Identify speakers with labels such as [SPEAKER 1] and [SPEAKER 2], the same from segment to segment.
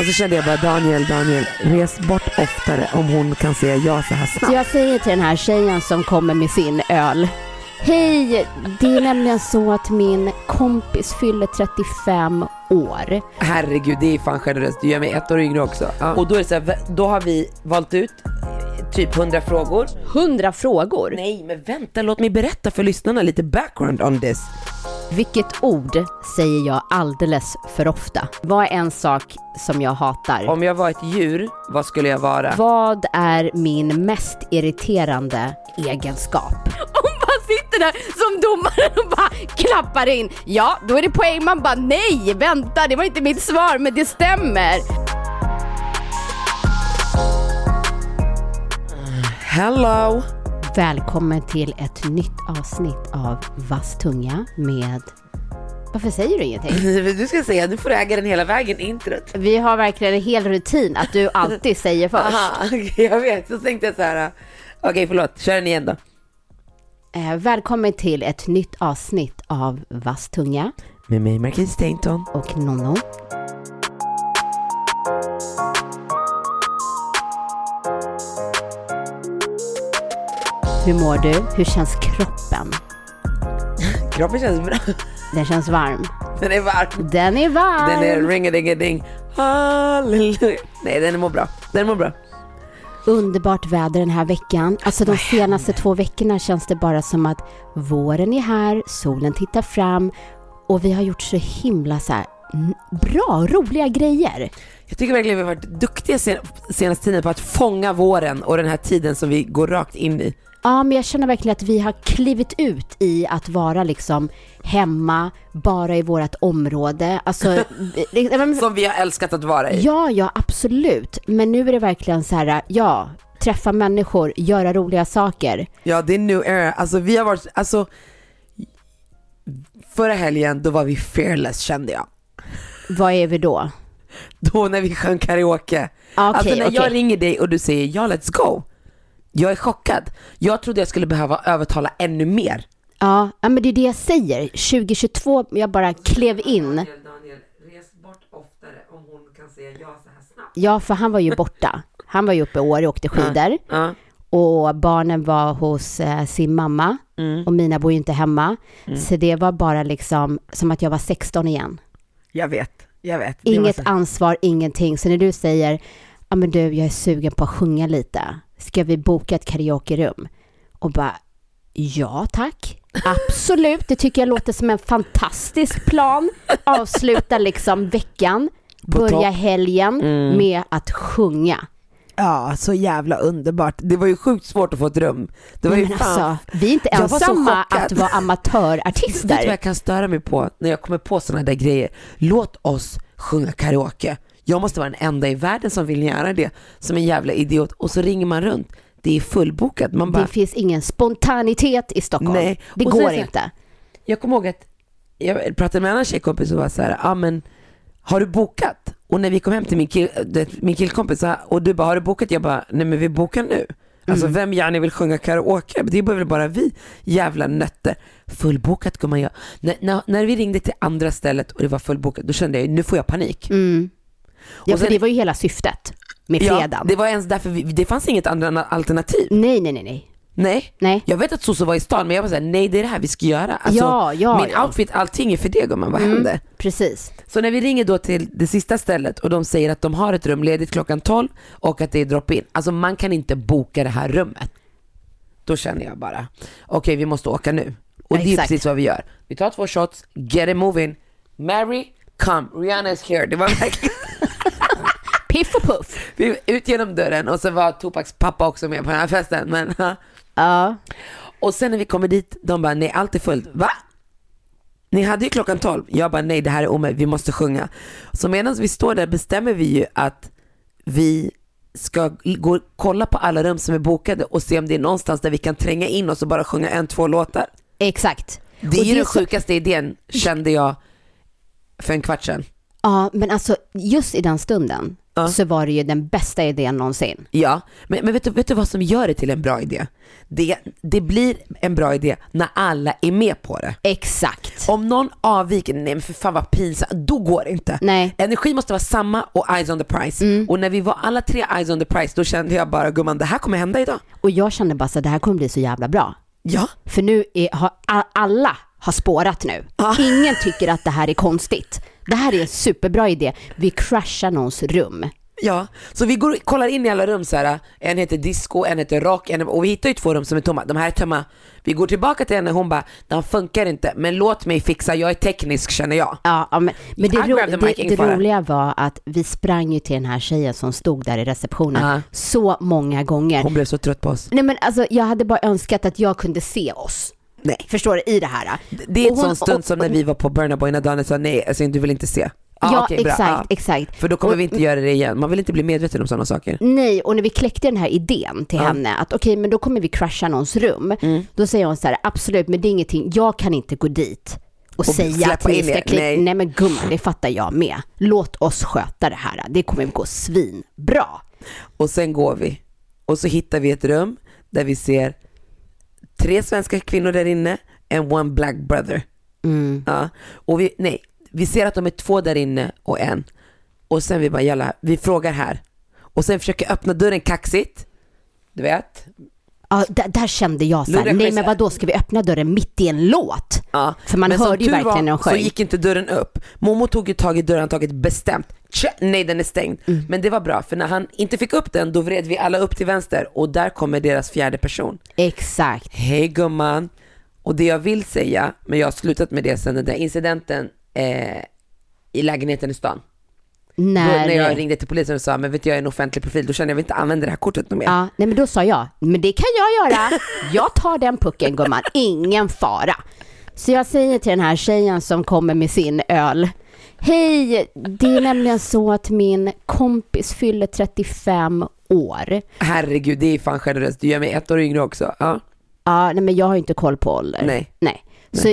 [SPEAKER 1] Och så kände jag bara Daniel, Daniel, res bort oftare om hon kan säga ja så här
[SPEAKER 2] Så
[SPEAKER 1] snabbt.
[SPEAKER 2] jag säger till den här tjejen som kommer med sin öl. Hej! Det är nämligen så att min kompis fyller 35 år.
[SPEAKER 1] Herregud, det är fan generöst. Du gör mig ett år yngre också. Ja.
[SPEAKER 3] Och då är det så här, vä- Eh, då har vi valt ut eh, typ 100 frågor.
[SPEAKER 2] 100 frågor.
[SPEAKER 3] Nej, men vänta, låt mig berätta för lyssnarna lite background on this.
[SPEAKER 2] Vilket ord säger jag alldeles för ofta? Vad är en sak som jag hatar?
[SPEAKER 3] Om jag var ett djur, vad skulle jag vara?
[SPEAKER 2] Vad är min mest irriterande egenskap? Om man sitter där som domaren och bara klappar in. Ja, då är det poäng. Man bara nej, vänta, det var inte mitt svar, men det stämmer.
[SPEAKER 3] Hello!
[SPEAKER 2] Välkommen till ett nytt avsnitt av Vass tunga med... Varför säger du ingenting?
[SPEAKER 3] Du ska säga, nu får du äga den hela vägen, introt.
[SPEAKER 2] Vi har verkligen en hel rutin att du alltid säger först.
[SPEAKER 3] Aha, okej, jag vet. Så tänkte jag så här. eh, Okej, förlåt. Kör den igen då.
[SPEAKER 2] Eh, välkommen till ett nytt avsnitt av Vass tunga
[SPEAKER 3] Med mig, Marquis Tainton.
[SPEAKER 2] och Nonno. Hur mår du? Hur känns kroppen?
[SPEAKER 3] Kroppen känns bra.
[SPEAKER 2] Den känns varm.
[SPEAKER 3] Den är varm.
[SPEAKER 2] Den är varm!
[SPEAKER 3] Den är ring a ding a ding Halleluja. Nej, den mår bra. Den mår bra.
[SPEAKER 2] Underbart väder den här veckan. Alltså de senaste två veckorna känns det bara som att våren är här, solen tittar fram och vi har gjort så himla så här n- bra, roliga grejer.
[SPEAKER 3] Jag tycker verkligen vi har varit duktiga sen, senaste tiden på att fånga våren och den här tiden som vi går rakt in i.
[SPEAKER 2] Ja, men jag känner verkligen att vi har klivit ut i att vara liksom hemma, bara i vårt område. Alltså, vi- nej, men-
[SPEAKER 3] Som vi har älskat att vara i.
[SPEAKER 2] ja, ja, absolut. Men nu är det verkligen så här, ja, träffa människor, göra roliga saker.
[SPEAKER 3] Ja, det är new era. Alltså vi har varit, alltså förra helgen då var vi fearless kände jag.
[SPEAKER 2] Vad är vi då?
[SPEAKER 3] Då när vi sjöng karaoke.
[SPEAKER 2] Ja, Ah, Okej,
[SPEAKER 3] alltså när
[SPEAKER 2] okej.
[SPEAKER 3] jag ringer dig och du säger ja let's go. Jag är chockad. Jag trodde jag skulle behöva övertala ännu mer.
[SPEAKER 2] Ja, ja, men det är det jag säger. 2022, jag bara klev in.
[SPEAKER 3] Daniel, res bort oftare om hon kan säga ja så här snabbt.
[SPEAKER 2] Ja, för han var ju borta. Han var ju uppe i Åre och åkte skidor.
[SPEAKER 3] Ja.
[SPEAKER 2] Och barnen var hos eh, sin mamma.
[SPEAKER 3] Mm.
[SPEAKER 2] Och mina bor ju inte hemma. Så det var bara liksom som att jag var 16 igen.
[SPEAKER 3] Jag vet, jag vet. Det var
[SPEAKER 2] Inget
[SPEAKER 3] så-
[SPEAKER 2] ansvar, ingenting. Så när du säger, ja men du, jag är sugen på att sjunga lite. Ska vi boka ett karaokerum? Och bara, ja tack. Absolut, det tycker jag låter som en fantastisk plan. Avsluta liksom veckan, börja helgen
[SPEAKER 3] Mm.
[SPEAKER 2] med att sjunga.
[SPEAKER 3] Ja, så jävla underbart. Det var ju sjukt svårt att få ett rum. Det var
[SPEAKER 2] Nej,
[SPEAKER 3] ju
[SPEAKER 2] men
[SPEAKER 3] fan...
[SPEAKER 2] alltså, vi är inte
[SPEAKER 3] Jag var så
[SPEAKER 2] ensamma
[SPEAKER 3] chockad.
[SPEAKER 2] att vara
[SPEAKER 3] Vet du vad
[SPEAKER 2] amatörartister.
[SPEAKER 3] jag kan störa mig på när jag kommer på sådana där grejer? Låt oss sjunga karaoke. Jag måste vara den enda i världen som vill göra det, som en jävla idiot. Och så ringer man runt. Det är fullbokat. Man bara,
[SPEAKER 2] Det finns ingen spontanitet i Stockholm.
[SPEAKER 3] Nej,
[SPEAKER 2] Det
[SPEAKER 3] och sen
[SPEAKER 2] går
[SPEAKER 3] så-
[SPEAKER 2] inte.
[SPEAKER 3] jag kommer ihåg att jag pratade med en annan tjejkompis och var så här, ah, men har du bokat? Och när vi kom hem till min, kill, det- min killkompis sa- och du bara, har du bokat? Jag bara, nej men vi bokar nu. Alltså
[SPEAKER 2] Mm.
[SPEAKER 3] vem gärna vill sjunga karaoke? Det är väl bara vi jävla nötter. Fullbokat gumman jag. När, när, när vi ringde till andra stället och det var fullbokat, då kände jag nu får jag panik.
[SPEAKER 2] Mm, Ja,
[SPEAKER 3] Och
[SPEAKER 2] för
[SPEAKER 3] sen-
[SPEAKER 2] det var ju hela syftet med
[SPEAKER 3] Ja,
[SPEAKER 2] fredagen.
[SPEAKER 3] det var ens därför, vi, det fanns inget andra alternativ.
[SPEAKER 2] Nej, nej, nej, nej.
[SPEAKER 3] Nej.
[SPEAKER 2] Mm. Nej.
[SPEAKER 3] Jag vet att Soso var i stan men jag var såhär, nej det är det här vi ska göra. Alltså,
[SPEAKER 2] Ja, ja,
[SPEAKER 3] min
[SPEAKER 2] ja. Mm.
[SPEAKER 3] outfit, allting är för det gumman, vad händer?
[SPEAKER 2] Precis.
[SPEAKER 3] Så när vi ringer då till det sista stället och de säger att de har ett rum ledigt klockan 12 och att det är drop-in. Alltså man kan inte boka det här rummet. Då känner jag bara, okej vi måste åka nu. Och
[SPEAKER 2] Ja,
[SPEAKER 3] det är
[SPEAKER 2] exakt.
[SPEAKER 3] precis vad vi gör. Vi tar två shots, get it moving, Mary, come, Rihanna is here. Det var verkligen,
[SPEAKER 2] Piff och puff.
[SPEAKER 3] vi ut genom dörren och så var Tupaks pappa också med på den här festen. Men,
[SPEAKER 2] Ja.
[SPEAKER 3] Och sen när vi kommer dit, de bara nej allt är fullt. Va? Ni hade ju klockan 12. Jag bara nej det här är omöjligt, vi måste sjunga. Så medan vi står där bestämmer vi ju att vi ska gå och kolla på alla rum som är bokade och se om det är någonstans där vi kan tränga in oss och bara sjunga en, två låtar.
[SPEAKER 2] Exakt. Och
[SPEAKER 3] Det är ju den
[SPEAKER 2] så-
[SPEAKER 3] sjukaste idén kände jag för en kvart sedan.
[SPEAKER 2] Ja, men alltså just i den stunden
[SPEAKER 3] Ja.
[SPEAKER 2] så var det ju den bästa idén någonsin.
[SPEAKER 3] Ja, men, men vet, du, vet du vad som gör det till en bra idé? Det, det blir en bra idé när alla är med på det.
[SPEAKER 2] Exakt.
[SPEAKER 3] Om någon avviker, nej men för fan vad pinsamt, då går det inte.
[SPEAKER 2] Nej.
[SPEAKER 3] Energi måste vara samma och eyes on the prize. Och när vi var alla tre eyes on the prize, då kände jag bara gumman, det här kommer hända idag.
[SPEAKER 2] Och jag kände bara så här, det här kommer bli så jävla bra.
[SPEAKER 3] Ja.
[SPEAKER 2] För nu är, har, a- alla har spårat nu. Ingen tycker att det här är konstigt. Det här är en superbra idé. Vi crashar någons rum.
[SPEAKER 3] Ja, så vi går och kollar in i alla rum så här. En heter disco, en heter rock, en, och vi hittar ju två rum som är tomma. De här är tömma. Vi går tillbaka till henne och hon bara, den funkar inte, men låt mig fixa, jag är teknisk känner jag.
[SPEAKER 2] Ja, ja, men, men det,
[SPEAKER 3] I grabbed the
[SPEAKER 2] ro-
[SPEAKER 3] mic
[SPEAKER 2] det, det
[SPEAKER 3] inför det.
[SPEAKER 2] roliga var att vi sprang ju till den här tjejen som stod där i receptionen
[SPEAKER 3] Ja.
[SPEAKER 2] så många gånger.
[SPEAKER 3] Hon blev så trött på oss.
[SPEAKER 2] Nej men alltså jag hade bara önskat att jag kunde se oss.
[SPEAKER 3] Nej.
[SPEAKER 2] Förstår du? I det här.
[SPEAKER 3] Det är
[SPEAKER 2] Och
[SPEAKER 3] en
[SPEAKER 2] hon-
[SPEAKER 3] sån stund
[SPEAKER 2] och-
[SPEAKER 3] som när vi var på Burna Boy när Daniel sa nej, alltså, du vill inte se. Ah,
[SPEAKER 2] ja,
[SPEAKER 3] okej, bra.
[SPEAKER 2] exakt,
[SPEAKER 3] Ah.
[SPEAKER 2] exakt.
[SPEAKER 3] För då kommer vi inte göra det igen. Man vill inte bli medveten om sådana saker.
[SPEAKER 2] Nej, och när vi kläckte den här idén till
[SPEAKER 3] Ja.
[SPEAKER 2] henne att okej, men då kommer vi crasha någons rum.
[SPEAKER 3] Mm.
[SPEAKER 2] Då säger hon så här, absolut, men det är ingenting, jag kan inte gå dit och, säga att
[SPEAKER 3] släppa
[SPEAKER 2] ni
[SPEAKER 3] in
[SPEAKER 2] ska
[SPEAKER 3] er,
[SPEAKER 2] klicka. Nej.
[SPEAKER 3] nej.
[SPEAKER 2] men gumman, det fattar jag med. Låt oss sköta det här, det kommer gå svinbra.
[SPEAKER 3] Och sen går vi. Och så hittar vi ett rum där vi ser tre svenska kvinnor där inne and one black brother.
[SPEAKER 2] Mm.
[SPEAKER 3] Ja. Och vi, nej, vi ser att de är två där inne och en. Och sen vi bara, jalla, vi frågar här. Och sen försöker öppna dörren kaxigt. Du vet.
[SPEAKER 2] Ja, där, där kände jag så här,
[SPEAKER 3] Ludacris-
[SPEAKER 2] nej men vad då ska vi öppna dörren mitt i en låt?
[SPEAKER 3] Ja.
[SPEAKER 2] För man
[SPEAKER 3] som
[SPEAKER 2] hörde ju
[SPEAKER 3] tur
[SPEAKER 2] verkligen
[SPEAKER 3] var
[SPEAKER 2] när de
[SPEAKER 3] så
[SPEAKER 2] sjöng.
[SPEAKER 3] gick inte dörren upp. Momo tog ju tag i dörrhandtaget bestämt. Tja, nej den är stängd.
[SPEAKER 2] Mm.
[SPEAKER 3] Men det var bra för när han inte fick upp den då vred vi alla upp till vänster och där kommer deras fjärde person.
[SPEAKER 2] Exakt.
[SPEAKER 3] Hej gumman. Och det jag vill säga, men jag har slutat med det sen den där incidenten eh, i lägenheten i stan. Då,
[SPEAKER 2] När,
[SPEAKER 3] när jag ringde till polisen och sa, men vet du, jag är en offentlig profil, då känner jag att jag vill inte använda det här kortet något mer.
[SPEAKER 2] Ja, nej men då sa jag, men det kan jag göra. Jag tar den pucken gumman, ingen fara. Så jag säger till den här tjejen som kommer med sin öl. Hej, det är nämligen så att min kompis fyller 35 år.
[SPEAKER 3] Herregud, det är fan generöst. Du gör mig ett år yngre också. Ja.
[SPEAKER 2] Ja, nej men jag har ju inte koll på ålder.
[SPEAKER 3] Nej.
[SPEAKER 2] Nej. Så,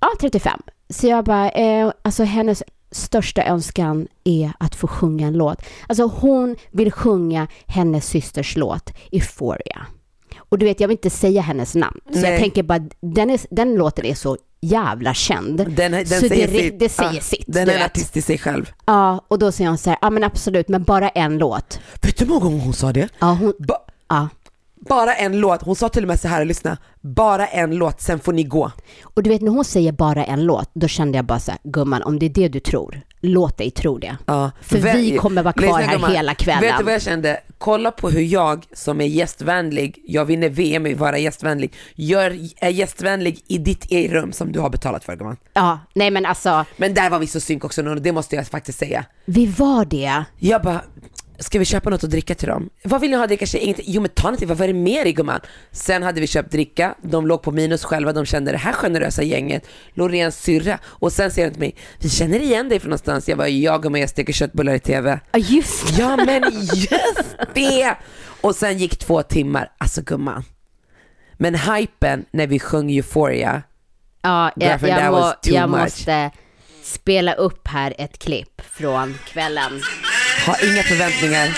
[SPEAKER 2] ja, 35. Så jag bara, eh, alltså hennes största önskan är att få sjunga en låt. Alltså hon vill sjunga hennes systers låt Euphoria. Och du vet, jag vill inte säga hennes namn. Så jag
[SPEAKER 3] Nej.
[SPEAKER 2] tänker bara, den, är, den låten är så jävla känd.
[SPEAKER 3] Den, den
[SPEAKER 2] så
[SPEAKER 3] säger
[SPEAKER 2] det,
[SPEAKER 3] sitt.
[SPEAKER 2] det säger
[SPEAKER 3] Ja,
[SPEAKER 2] sitt.
[SPEAKER 3] Den
[SPEAKER 2] du
[SPEAKER 3] är en
[SPEAKER 2] vet.
[SPEAKER 3] artist i sig själv.
[SPEAKER 2] Ja, och då säger hon så här, ja men absolut, men bara en låt.
[SPEAKER 3] Vet du hur många gånger hon sa det?
[SPEAKER 2] Ja, hon,
[SPEAKER 3] Ba-
[SPEAKER 2] ja.
[SPEAKER 3] bara en låt. Hon sa till och med så här, lyssna. Bara en låt, sen får ni gå.
[SPEAKER 2] Och du vet när hon säger bara en låt, då kände jag bara så här, gumman om det är det du tror, låt dig tro det.
[SPEAKER 3] Ja.
[SPEAKER 2] För
[SPEAKER 3] Vä-
[SPEAKER 2] vi kommer vara kvar
[SPEAKER 3] Lyssna,
[SPEAKER 2] här
[SPEAKER 3] gumman.
[SPEAKER 2] hela kvällen.
[SPEAKER 3] Vet du vad jag kände? Kolla på hur jag som är gästvänlig, jag vinner VM i att vara gästvänlig, gör, är gästvänlig i ditt eget rum som du har betalat för gumman.
[SPEAKER 2] Ja, nej men alltså,
[SPEAKER 3] Men där var vi så synk också Nono, det måste jag faktiskt säga.
[SPEAKER 2] vi var det.
[SPEAKER 3] Jag bara, ska vi köpa något att dricka till dem? Vad vill ni ha att dricka? tjejer? Ingenting. Jo men ta någonting, vad var det mer i gumman? Sen hade vi köpt dricka, de låg på minus själva, de kände det här generösa gänget, Loreens syrra. Och sen säger de till mig, vi känner igen dig från någonstans. Jag bara, ja gumman jag steker köttbullar i TV.
[SPEAKER 2] Ja just
[SPEAKER 3] Ja men just det! Och sen gick två timmar, alltså gumman. Men hypen när vi sjöng Euphoria,
[SPEAKER 2] Ja, jag,
[SPEAKER 3] Girlfriend,
[SPEAKER 2] jag,
[SPEAKER 3] that
[SPEAKER 2] må,
[SPEAKER 3] was too
[SPEAKER 2] jag
[SPEAKER 3] much.
[SPEAKER 2] måste spela upp här ett klipp från kvällen.
[SPEAKER 3] ha inga förväntningar.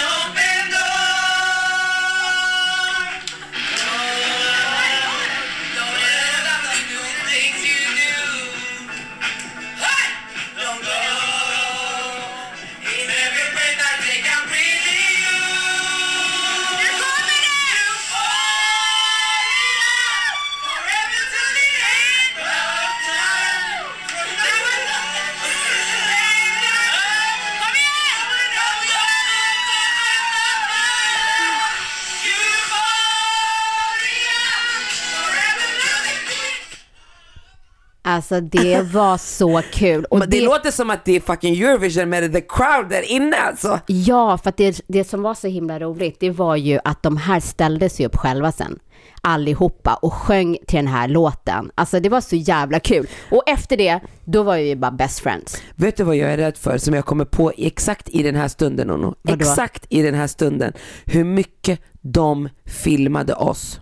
[SPEAKER 2] Alltså det var så kul. Och
[SPEAKER 3] Men det, låter som att det är fucking Eurovision med the crowd där inne alltså.
[SPEAKER 2] Ja, för att det, det som var så himla roligt, det var ju att de här ställde sig upp själva sen. allihopa och sjöng till den här låten. Alltså det var så jävla kul. Och efter det, då var vi bara best friends.
[SPEAKER 3] Vet du vad jag är rädd för som jag kommer på exakt i den här stunden Ono?
[SPEAKER 2] Vadå?
[SPEAKER 3] Exakt i den här stunden. Hur mycket de filmade oss.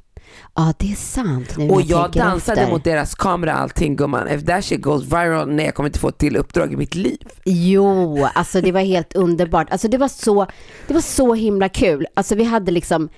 [SPEAKER 2] Ja, det är sant nu när
[SPEAKER 3] Och jag
[SPEAKER 2] tänker
[SPEAKER 3] dansade
[SPEAKER 2] efter.
[SPEAKER 3] mot deras kamera allting gumman. If that shit goes viral, nej jag kommer inte få ett till uppdrag i mitt liv.
[SPEAKER 2] Jo, alltså det var helt underbart. Alltså det var så, det var så himla kul. Alltså vi hade liksom,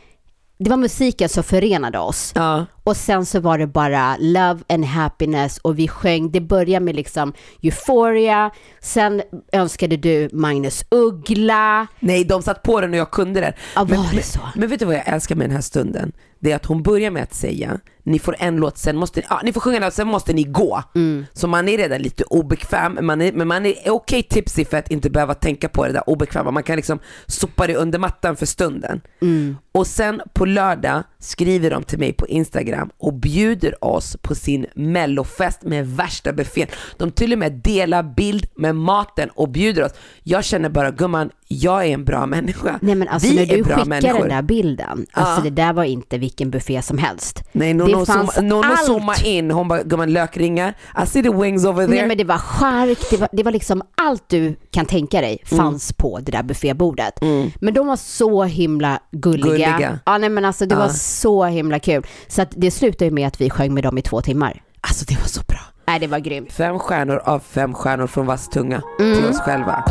[SPEAKER 2] det var musiken som förenade oss.
[SPEAKER 3] Ja.
[SPEAKER 2] Och sen så var det bara love and happiness och vi sjöng, det började med liksom euphoria, sen önskade du Magnus Uggla.
[SPEAKER 3] Nej, de satt på den och jag kunde den.
[SPEAKER 2] Ja, var det
[SPEAKER 3] men,
[SPEAKER 2] så?
[SPEAKER 3] men vet du vad jag älskar med den här stunden? Det är att hon börjar med att säga, ni får en låt, sen måste ni, ja, ni får sjunga den, sen måste ni gå.
[SPEAKER 2] Mm.
[SPEAKER 3] Så man är redan lite obekväm, men man är, men man är okej tipsig för att inte behöva tänka på det där obekväma. Man kan liksom sopa det under mattan för stunden.
[SPEAKER 2] Mm.
[SPEAKER 3] Och sen på lördag skriver de till mig på Instagram och bjuder oss på sin mellofest med värsta buffén. De till och med delar bild med maten och bjuder oss. Jag känner bara gumman, jag är en bra människa.
[SPEAKER 2] Nej men alltså
[SPEAKER 3] Vi
[SPEAKER 2] när
[SPEAKER 3] är
[SPEAKER 2] du
[SPEAKER 3] bra
[SPEAKER 2] skickade
[SPEAKER 3] människor.
[SPEAKER 2] den där bilden, alltså
[SPEAKER 3] Ja.
[SPEAKER 2] det där var inte vilken buffé som helst.
[SPEAKER 3] Nej,
[SPEAKER 2] det
[SPEAKER 3] Nono
[SPEAKER 2] fanns
[SPEAKER 3] zooma- Nono
[SPEAKER 2] allt.
[SPEAKER 3] zoomade in, hon bara gumman lökringar, I see the wings over there.
[SPEAKER 2] Nej men det var chark, det var, det var liksom allt du kan tänka dig fanns på det där buffébordet. Men de var så himla Mm. gulliga.
[SPEAKER 3] Gulliga.
[SPEAKER 2] Ja nej men alltså det var så himla kul. Så att det slutade ju med att vi sjöng med dem i två timmar.
[SPEAKER 3] Alltså det var så bra.
[SPEAKER 2] Nej det var grymt.
[SPEAKER 3] Fem stjärnor av fem stjärnor från vass tunga till oss själva.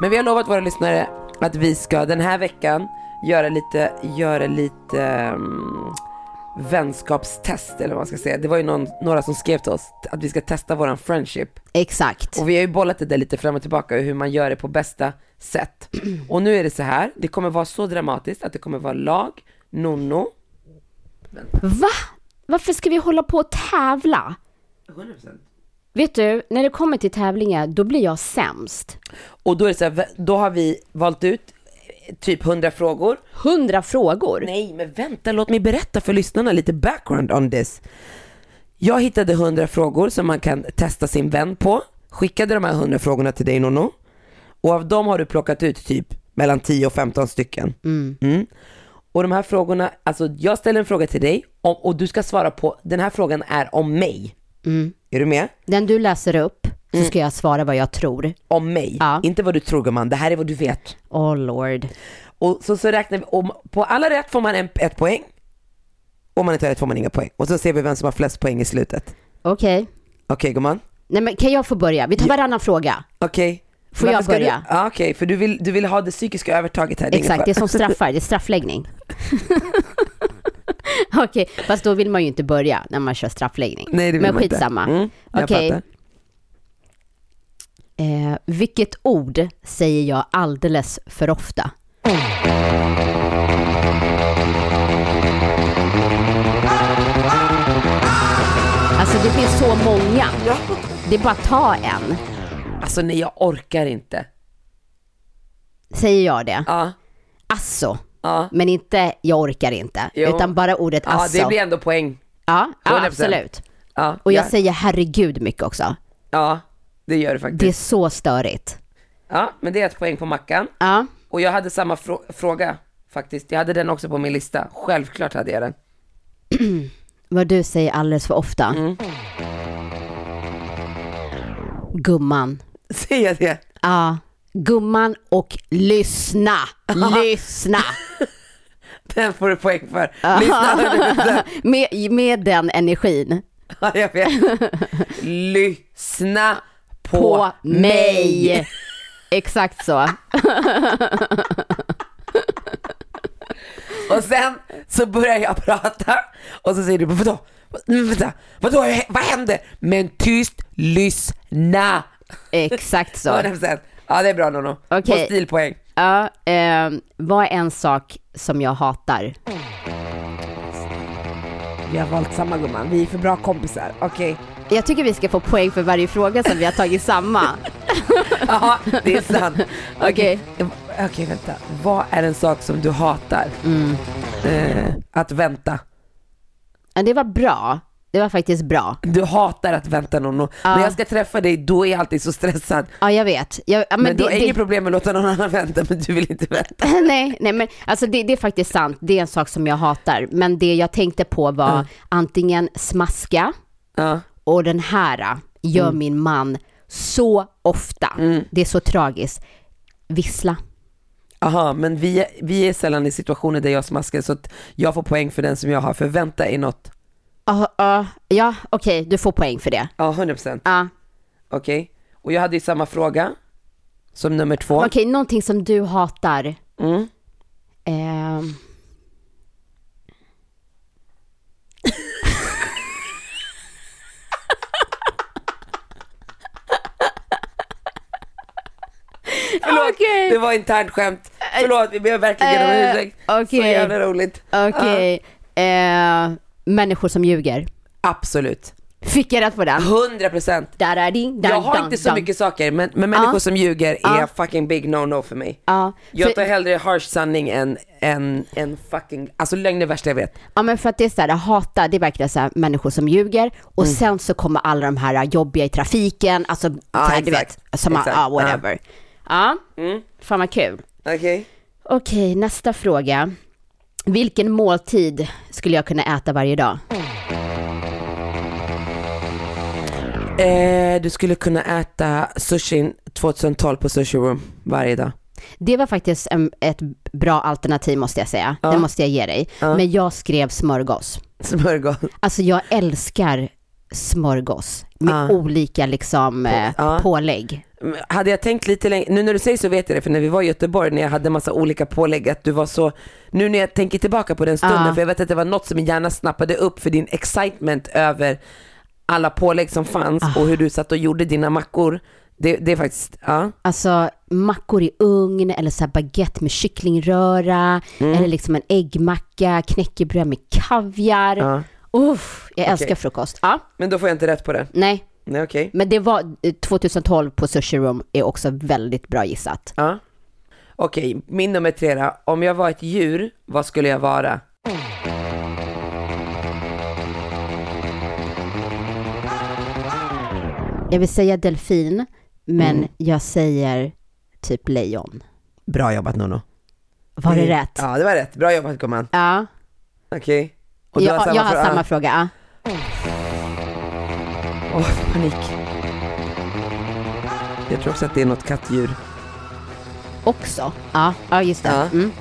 [SPEAKER 3] Men vi har lovat våra lyssnare att vi ska den här veckan göra lite, göra lite mm, vänskapstest eller vad man ska säga. Det var ju någon, några som skrev till oss att vi ska testa våran friendship.
[SPEAKER 2] Exakt.
[SPEAKER 3] Och vi har ju bollat det där lite fram och tillbaka hur man gör det på bästa sätt. Och nu är det så här, det kommer vara så dramatiskt att det kommer vara lag, nonno,
[SPEAKER 2] Va? Varför ska vi hålla på och tävla?
[SPEAKER 3] 100%.
[SPEAKER 2] Vet du, när det kommer till tävlingar då blir jag sämst.
[SPEAKER 3] Och då är det så här, då har vi valt ut eh, typ 100 frågor.
[SPEAKER 2] Hundra frågor.
[SPEAKER 3] Nej, men vänta, låt mig berätta för lyssnarna lite background on this. Jag hittade 100 frågor som man kan testa sin vän på. Skickade de här 100 frågorna till dig Nono. Och av dem har du plockat ut typ mellan 10 och 15 stycken. Mm. Och de här frågorna, alltså jag ställer en fråga till dig om, och du ska svara på, den här frågan är om mig. Är du med?
[SPEAKER 2] Den du läser upp så ska jag svara vad jag tror.
[SPEAKER 3] Om mig.
[SPEAKER 2] Ja.
[SPEAKER 3] Inte vad du tror gumman, det här är vad du vet.
[SPEAKER 2] Oh lord.
[SPEAKER 3] Och så, så räknar vi, och på alla rätt får man en, ett poäng. Om man inte har rätt får man inga poäng. Och så ser vi vem som har flest poäng i slutet. Okej
[SPEAKER 2] Okej.
[SPEAKER 3] gumman?
[SPEAKER 2] Nej men kan jag få börja? Vi tar varannan fråga.
[SPEAKER 3] Okej.
[SPEAKER 2] Får
[SPEAKER 3] Varför
[SPEAKER 2] jag
[SPEAKER 3] ska
[SPEAKER 2] börja?
[SPEAKER 3] Du, ja, okej, för du vill, du vill ha det psykiska övertaget här. är
[SPEAKER 2] Exakt,
[SPEAKER 3] ingen
[SPEAKER 2] det är
[SPEAKER 3] fara.
[SPEAKER 2] som straffar, det är straffläggning. Okej, fast då vill man ju inte börja när man kör straffläggning.
[SPEAKER 3] Nej, det vill
[SPEAKER 2] Men
[SPEAKER 3] man inte.
[SPEAKER 2] skitsamma.
[SPEAKER 3] Mm, jag
[SPEAKER 2] Okej.
[SPEAKER 3] fattar.
[SPEAKER 2] Eh, vilket ord säger jag alldeles för ofta? Alltså det finns så många. Det är bara att ta en.
[SPEAKER 3] Alltså nej, jag orkar inte.
[SPEAKER 2] Säger jag det?
[SPEAKER 3] Ja,
[SPEAKER 2] Alltså.
[SPEAKER 3] ja.
[SPEAKER 2] Men inte jag orkar inte.
[SPEAKER 3] Jo.
[SPEAKER 2] Utan bara ordet
[SPEAKER 3] Ja,
[SPEAKER 2] alltså.
[SPEAKER 3] det blir ändå poäng.
[SPEAKER 2] Ja, ja
[SPEAKER 3] 100%.
[SPEAKER 2] absolut.
[SPEAKER 3] Ja,
[SPEAKER 2] Och jag
[SPEAKER 3] ja,
[SPEAKER 2] säger herregud mycket också.
[SPEAKER 3] ja, det gör du
[SPEAKER 2] Det är
[SPEAKER 3] faktiskt.
[SPEAKER 2] så störigt.
[SPEAKER 3] Ja, men det är ett poäng på Mackan.
[SPEAKER 2] Ja,
[SPEAKER 3] Och jag hade samma frå- fråga faktiskt. Jag hade den också på min lista. Självklart hade jag den.
[SPEAKER 2] vad du säger alldeles för ofta.
[SPEAKER 3] Mm.
[SPEAKER 2] Gumman.
[SPEAKER 3] Säger jag det?
[SPEAKER 2] Ja, gumman och lyssna. lyssna.
[SPEAKER 3] Den får du poäng för. Lyssna, hörde du det?
[SPEAKER 2] Med, med den energin.
[SPEAKER 3] Ja, jag vet. Lyssna på,
[SPEAKER 2] På
[SPEAKER 3] mig.
[SPEAKER 2] mig. Exakt så.
[SPEAKER 3] Och sen så börjar jag prata och så säger du vadå? Mm, Vänta, vadå, vad hände? Men tyst, lyssna.
[SPEAKER 2] Exakt så.
[SPEAKER 3] 100%. Ja, det är bra Nono.
[SPEAKER 2] Okej.
[SPEAKER 3] På stilpoäng.
[SPEAKER 2] Ja, eh, vad är en sak som jag hatar?
[SPEAKER 3] Vi har valt samma gumman, vi är för bra kompisar. Okej.
[SPEAKER 2] Jag tycker vi ska få poäng för varje fråga som vi har tagit samma.
[SPEAKER 3] Ja, det är sant.
[SPEAKER 2] Okej.
[SPEAKER 3] Okej, vänta. Vad är en sak som
[SPEAKER 2] Mm.
[SPEAKER 3] du hatar? Eh, att vänta.
[SPEAKER 2] Ja, det var bra. Det var faktiskt bra.
[SPEAKER 3] Du hatar att vänta någon. och-
[SPEAKER 2] Ja.
[SPEAKER 3] När jag ska träffa dig då är jag alltid så stressad.
[SPEAKER 2] Ja, jag vet. Jag, ja,
[SPEAKER 3] Men,
[SPEAKER 2] men
[SPEAKER 3] du har
[SPEAKER 2] det,
[SPEAKER 3] inget
[SPEAKER 2] det,
[SPEAKER 3] problem med att låta någon annan vänta men du vill inte vänta.
[SPEAKER 2] nej, nej, men alltså det, det är faktiskt sant. Det är en sak som jag hatar. Men det jag tänkte på var antingen smaska
[SPEAKER 3] Ja.
[SPEAKER 2] och den här äh, gör
[SPEAKER 3] Mm.
[SPEAKER 2] min man så ofta. Det är så tragiskt. Vissla.
[SPEAKER 3] Aha, men vi, vi är sällan i situationer där jag smaskar så att jag får poäng för den som jag har. För vänta är något,
[SPEAKER 2] Ja,
[SPEAKER 3] Ah,
[SPEAKER 2] ja, ja, okej, du får poäng för det.
[SPEAKER 3] ja 100%.
[SPEAKER 2] Ja.
[SPEAKER 3] Okej. Och jag hade ju samma fråga som nummer två.
[SPEAKER 2] Okej, någonting som du hatar.
[SPEAKER 3] Mm.
[SPEAKER 2] Ehm.
[SPEAKER 3] Förlåt,
[SPEAKER 2] Okej.
[SPEAKER 3] det var internt skämt. Förlåt, vi ber verkligen
[SPEAKER 2] Eh,
[SPEAKER 3] om ursäkt. Så
[SPEAKER 2] okej.
[SPEAKER 3] jävla roligt.
[SPEAKER 2] Okej. Eh, människor som ljuger.
[SPEAKER 3] Absolut.
[SPEAKER 2] Fick jag rätt på den?
[SPEAKER 3] 100%.
[SPEAKER 2] Där är din, där
[SPEAKER 3] Jag har
[SPEAKER 2] dan,
[SPEAKER 3] inte så
[SPEAKER 2] dan.
[SPEAKER 3] mycket saker, men, men människor
[SPEAKER 2] Ja.
[SPEAKER 3] som ljuger är
[SPEAKER 2] Ja.
[SPEAKER 3] fucking big no-no för mig.
[SPEAKER 2] Ja,
[SPEAKER 3] Jag tar
[SPEAKER 2] för,
[SPEAKER 3] hellre harsh sanning än, än, än fucking, alltså lögn är det värsta jag vet.
[SPEAKER 2] ja, men för att det är så här, hata, det är verkligen så här, människor som ljuger och sen så kommer alla de här jobbiga i trafiken, alltså
[SPEAKER 3] Mm. Ja,
[SPEAKER 2] så här, du
[SPEAKER 3] exakt.
[SPEAKER 2] vet, som man,
[SPEAKER 3] Exakt. Mm.
[SPEAKER 2] ja, whatever. Ja, fan vad kul.
[SPEAKER 3] Okej.
[SPEAKER 2] Okej, nästa fråga. Vilken måltid skulle jag kunna äta varje dag?
[SPEAKER 3] Eh, du skulle kunna äta sushin 2012 på Sushi Room varje dag.
[SPEAKER 2] Det var faktiskt en, ett bra alternativ måste jag säga. Det måste jag ge dig. Men jag skrev smörgås.
[SPEAKER 3] Smörgås.
[SPEAKER 2] Alltså jag älskar smörgås med
[SPEAKER 3] Ja.
[SPEAKER 2] olika liksom eh,
[SPEAKER 3] ja.
[SPEAKER 2] pålägg.
[SPEAKER 3] Mm, Hade jag tänkt lite längre, nu när du säger så vet jag det för när vi var i Göteborg när jag hade massa olika pålägg att du var så, nu när jag tänker tillbaka på den stunden
[SPEAKER 2] Ja.
[SPEAKER 3] för jag vet att det var något som min hjärna snappade upp för din excitement över alla pålägg som fanns
[SPEAKER 2] Ah.
[SPEAKER 3] och hur du satt och gjorde dina mackor. Det, det är faktiskt, ja.
[SPEAKER 2] Alltså mackor i ugn eller så här baguette med kycklingröra
[SPEAKER 3] Mm.
[SPEAKER 2] eller liksom en äggmacka, knäckebröd med kaviar.
[SPEAKER 3] Ja.
[SPEAKER 2] Uff, jag älskar frukost. Ja,
[SPEAKER 3] Men då får jag inte rätt på det.
[SPEAKER 2] nej.
[SPEAKER 3] Nej okej.
[SPEAKER 2] Men det var eh, 2012 på Sushi Room är också väldigt bra gissat.
[SPEAKER 3] Ja. Okej, min nummer tre då. Om jag var ett djur, vad skulle jag vara?
[SPEAKER 2] Jag vill säga delfin, men
[SPEAKER 3] Mm.
[SPEAKER 2] jag säger typ lejon.
[SPEAKER 3] Bra jobbat Nono.
[SPEAKER 2] Var det rätt?
[SPEAKER 3] Ja det var rätt, bra jobbat gumman.
[SPEAKER 2] Ja.
[SPEAKER 3] Okej. Och du
[SPEAKER 2] Jag, jag har
[SPEAKER 3] fråga?
[SPEAKER 2] samma fråga. ja.
[SPEAKER 3] Åh, panik. Jag tror också att det är något kattdjur.
[SPEAKER 2] Också? Ja, ja just det.
[SPEAKER 3] Ja.
[SPEAKER 2] Mm.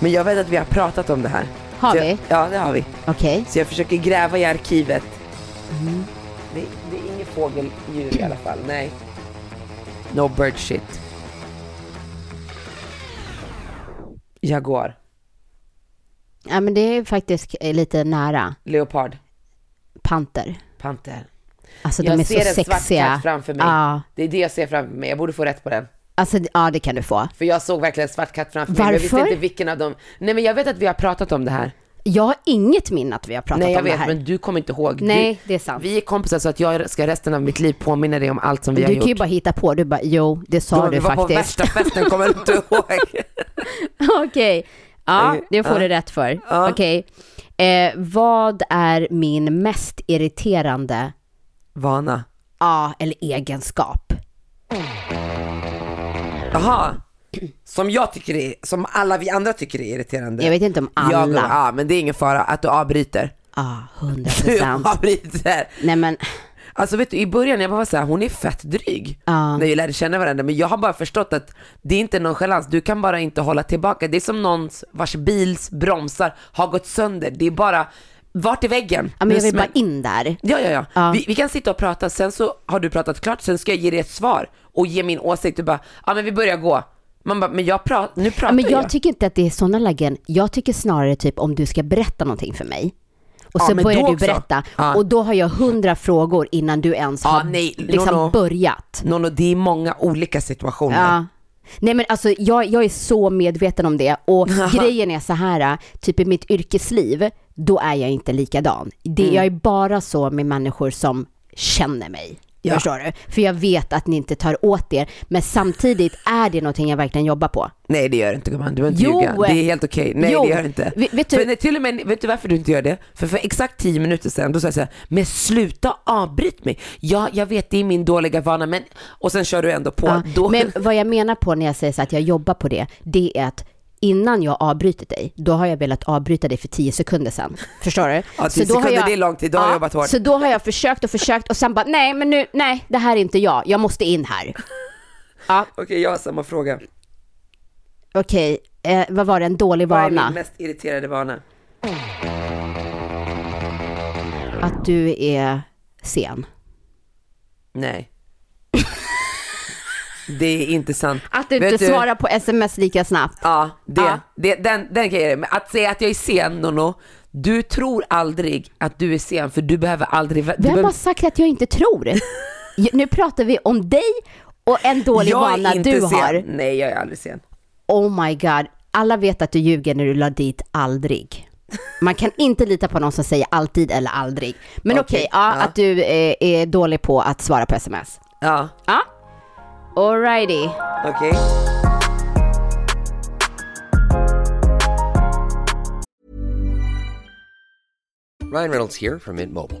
[SPEAKER 3] Men jag vet att vi har pratat om det här.
[SPEAKER 2] Har
[SPEAKER 3] Så jag-
[SPEAKER 2] vi?
[SPEAKER 3] Ja, det har vi.
[SPEAKER 2] Okej.
[SPEAKER 3] Så jag försöker gräva i arkivet.
[SPEAKER 2] Mm.
[SPEAKER 3] Det, det är inget fågeldjur i alla fall, nej. No bird shit. Jaguar.
[SPEAKER 2] Ja, men det är faktiskt eh, lite nära.
[SPEAKER 3] Leopard.
[SPEAKER 2] Panter.
[SPEAKER 3] Panter.
[SPEAKER 2] Alltså
[SPEAKER 3] jag
[SPEAKER 2] de är
[SPEAKER 3] ser
[SPEAKER 2] så
[SPEAKER 3] en svart
[SPEAKER 2] sexiga.
[SPEAKER 3] katt framför mig.
[SPEAKER 2] Ja.
[SPEAKER 3] Det är det jag ser framför mig. Jag borde få rätt på den.
[SPEAKER 2] Alltså, ja, det kan du få.
[SPEAKER 3] För jag såg verkligen en svart katt framför mig. men Jag visste
[SPEAKER 2] Varför?
[SPEAKER 3] inte vilken av dem. Nej men jag vet att vi har pratat om det här.
[SPEAKER 2] Jag har inget minne att vi har pratat
[SPEAKER 3] Nej jag
[SPEAKER 2] om
[SPEAKER 3] vet
[SPEAKER 2] det här.
[SPEAKER 3] men du kommer inte ihåg.
[SPEAKER 2] Nej,
[SPEAKER 3] du,
[SPEAKER 2] det är sant.
[SPEAKER 3] Vi är kompisar så att jag ska resten av mitt liv påminna dig om allt som vi
[SPEAKER 2] du
[SPEAKER 3] har
[SPEAKER 2] kan ju
[SPEAKER 3] gjort.
[SPEAKER 2] bara hitta på. Du bara, jo, det sa
[SPEAKER 3] vi
[SPEAKER 2] du
[SPEAKER 3] var på
[SPEAKER 2] faktiskt.
[SPEAKER 3] värsta festen, kommer du inte ihåg?
[SPEAKER 2] Okej. Ja,
[SPEAKER 3] Eh,
[SPEAKER 2] det får du rätt för. Okej. Eh, vad är min mest irriterande,
[SPEAKER 3] Vana.
[SPEAKER 2] ja, eller egenskap?
[SPEAKER 3] Jaha. Som jag tycker är, som alla vi andra tycker är irriterande.
[SPEAKER 2] Jag vet inte om alla.
[SPEAKER 3] Jag, ja men det är ingen fara att du avbryter.
[SPEAKER 2] Ja, hundra
[SPEAKER 3] Du
[SPEAKER 2] procent.
[SPEAKER 3] avbryter.
[SPEAKER 2] Nej men,
[SPEAKER 3] Alltså vet du, i början jag bara var såhär, hon är fett dryg.
[SPEAKER 2] Ja.
[SPEAKER 3] När vi lärde känna varandra. Men jag har bara förstått att det är inte nonchalans, du kan bara inte hålla tillbaka. Det är som någons vars bils bromsar har gått sönder. Det är bara, vart är väggen?
[SPEAKER 2] ja, men jag
[SPEAKER 3] Nu
[SPEAKER 2] vill bara
[SPEAKER 3] smäll-
[SPEAKER 2] in där.
[SPEAKER 3] Ja, ja, ja.
[SPEAKER 2] Ja.
[SPEAKER 3] Vi, vi kan sitta och prata, sen så har du pratat klart, sen ska jag ge dig ett svar och ge min åsikt. Du bara, ja men vi börjar gå. Man bara, men jag pratar, nu pratar
[SPEAKER 2] Ja, men jag
[SPEAKER 3] jag.
[SPEAKER 2] tycker inte att det är sådana lägen. Jag tycker snarare typ om du ska berätta någonting för mig. Och
[SPEAKER 3] Ja,
[SPEAKER 2] så
[SPEAKER 3] men
[SPEAKER 2] börjar
[SPEAKER 3] då
[SPEAKER 2] du
[SPEAKER 3] också.
[SPEAKER 2] berätta.
[SPEAKER 3] Ja.
[SPEAKER 2] Och då har jag hundra frågor innan du ens
[SPEAKER 3] Ja,
[SPEAKER 2] har
[SPEAKER 3] nej, no,
[SPEAKER 2] liksom
[SPEAKER 3] no.
[SPEAKER 2] börjat.
[SPEAKER 3] Nono, det är många olika situationer.
[SPEAKER 2] Ja. Nej men alltså jag, jag är så medveten om det och grejen är så här, typ i mitt yrkesliv,
[SPEAKER 3] Mm.
[SPEAKER 2] då är jag inte likadan. Det, Jag är bara så med människor som känner mig.
[SPEAKER 3] Ja.
[SPEAKER 2] Förstår du? För jag vet att ni inte tar åt er. Men samtidigt är det någonting jag verkligen jobbar på.
[SPEAKER 3] Nej det gör det inte gumman, du behöver inte
[SPEAKER 2] Jo.
[SPEAKER 3] ljuga. Det är helt okej. Nej
[SPEAKER 2] Jo.
[SPEAKER 3] det gör det inte.
[SPEAKER 2] Vet- vet du-
[SPEAKER 3] För, nej, till och med, vet du varför du inte gör det? För för exakt 10 minuter sedan då sa jag såhär, men sluta avbryt mig. Ja jag vet det är min dåliga vana men, och sen kör du ändå på.
[SPEAKER 2] Ja,
[SPEAKER 3] då...
[SPEAKER 2] Men vad jag menar på när jag säger så att jag jobbar på det, det är att innan jag avbryter dig, då har jag velat avbryta dig för 10 sekunder sedan. Förstår du?
[SPEAKER 3] Ja, 10 sekunder, det är lång tid. Då har jag jobbat hårt.
[SPEAKER 2] Så då har jag försökt och försökt och sen bara, nej men nu, nej det här är inte jag, jag måste in här. Ja,
[SPEAKER 3] Okej jag har samma fråga.
[SPEAKER 2] okej, eh, vad var det, en dålig
[SPEAKER 3] Vad är
[SPEAKER 2] vana?
[SPEAKER 3] min mest irriterade vana?
[SPEAKER 2] Att du är sen.
[SPEAKER 3] Nej. det är inte sant.
[SPEAKER 2] Att du
[SPEAKER 3] Vet
[SPEAKER 2] inte svarar på sms lika snabbt.
[SPEAKER 3] Ja, det,
[SPEAKER 2] Ja.
[SPEAKER 3] Det, den, den kan jag ge dig. Men Att säga att jag är sen Nono, du tror aldrig att du är sen för du behöver aldrig... Du
[SPEAKER 2] Vem har
[SPEAKER 3] behöver,
[SPEAKER 2] sagt att jag inte tror? Ju- nu pratar vi om dig och en dålig
[SPEAKER 3] jag
[SPEAKER 2] vana
[SPEAKER 3] är inte
[SPEAKER 2] du
[SPEAKER 3] sen.
[SPEAKER 2] har.
[SPEAKER 3] Nej, jag är aldrig sen.
[SPEAKER 2] Oh my god, alla vet att du ljuger när du la dit aldrig. Man kan inte lita på någon som säger alltid eller aldrig. Men okej,
[SPEAKER 3] Okej,
[SPEAKER 2] ja,
[SPEAKER 3] ja.
[SPEAKER 2] att du eh, är dålig på att svara på sms.
[SPEAKER 3] Ja,
[SPEAKER 2] Ja, alrighty.
[SPEAKER 3] okej.
[SPEAKER 4] Ryan Reynolds here from Mint Mobile.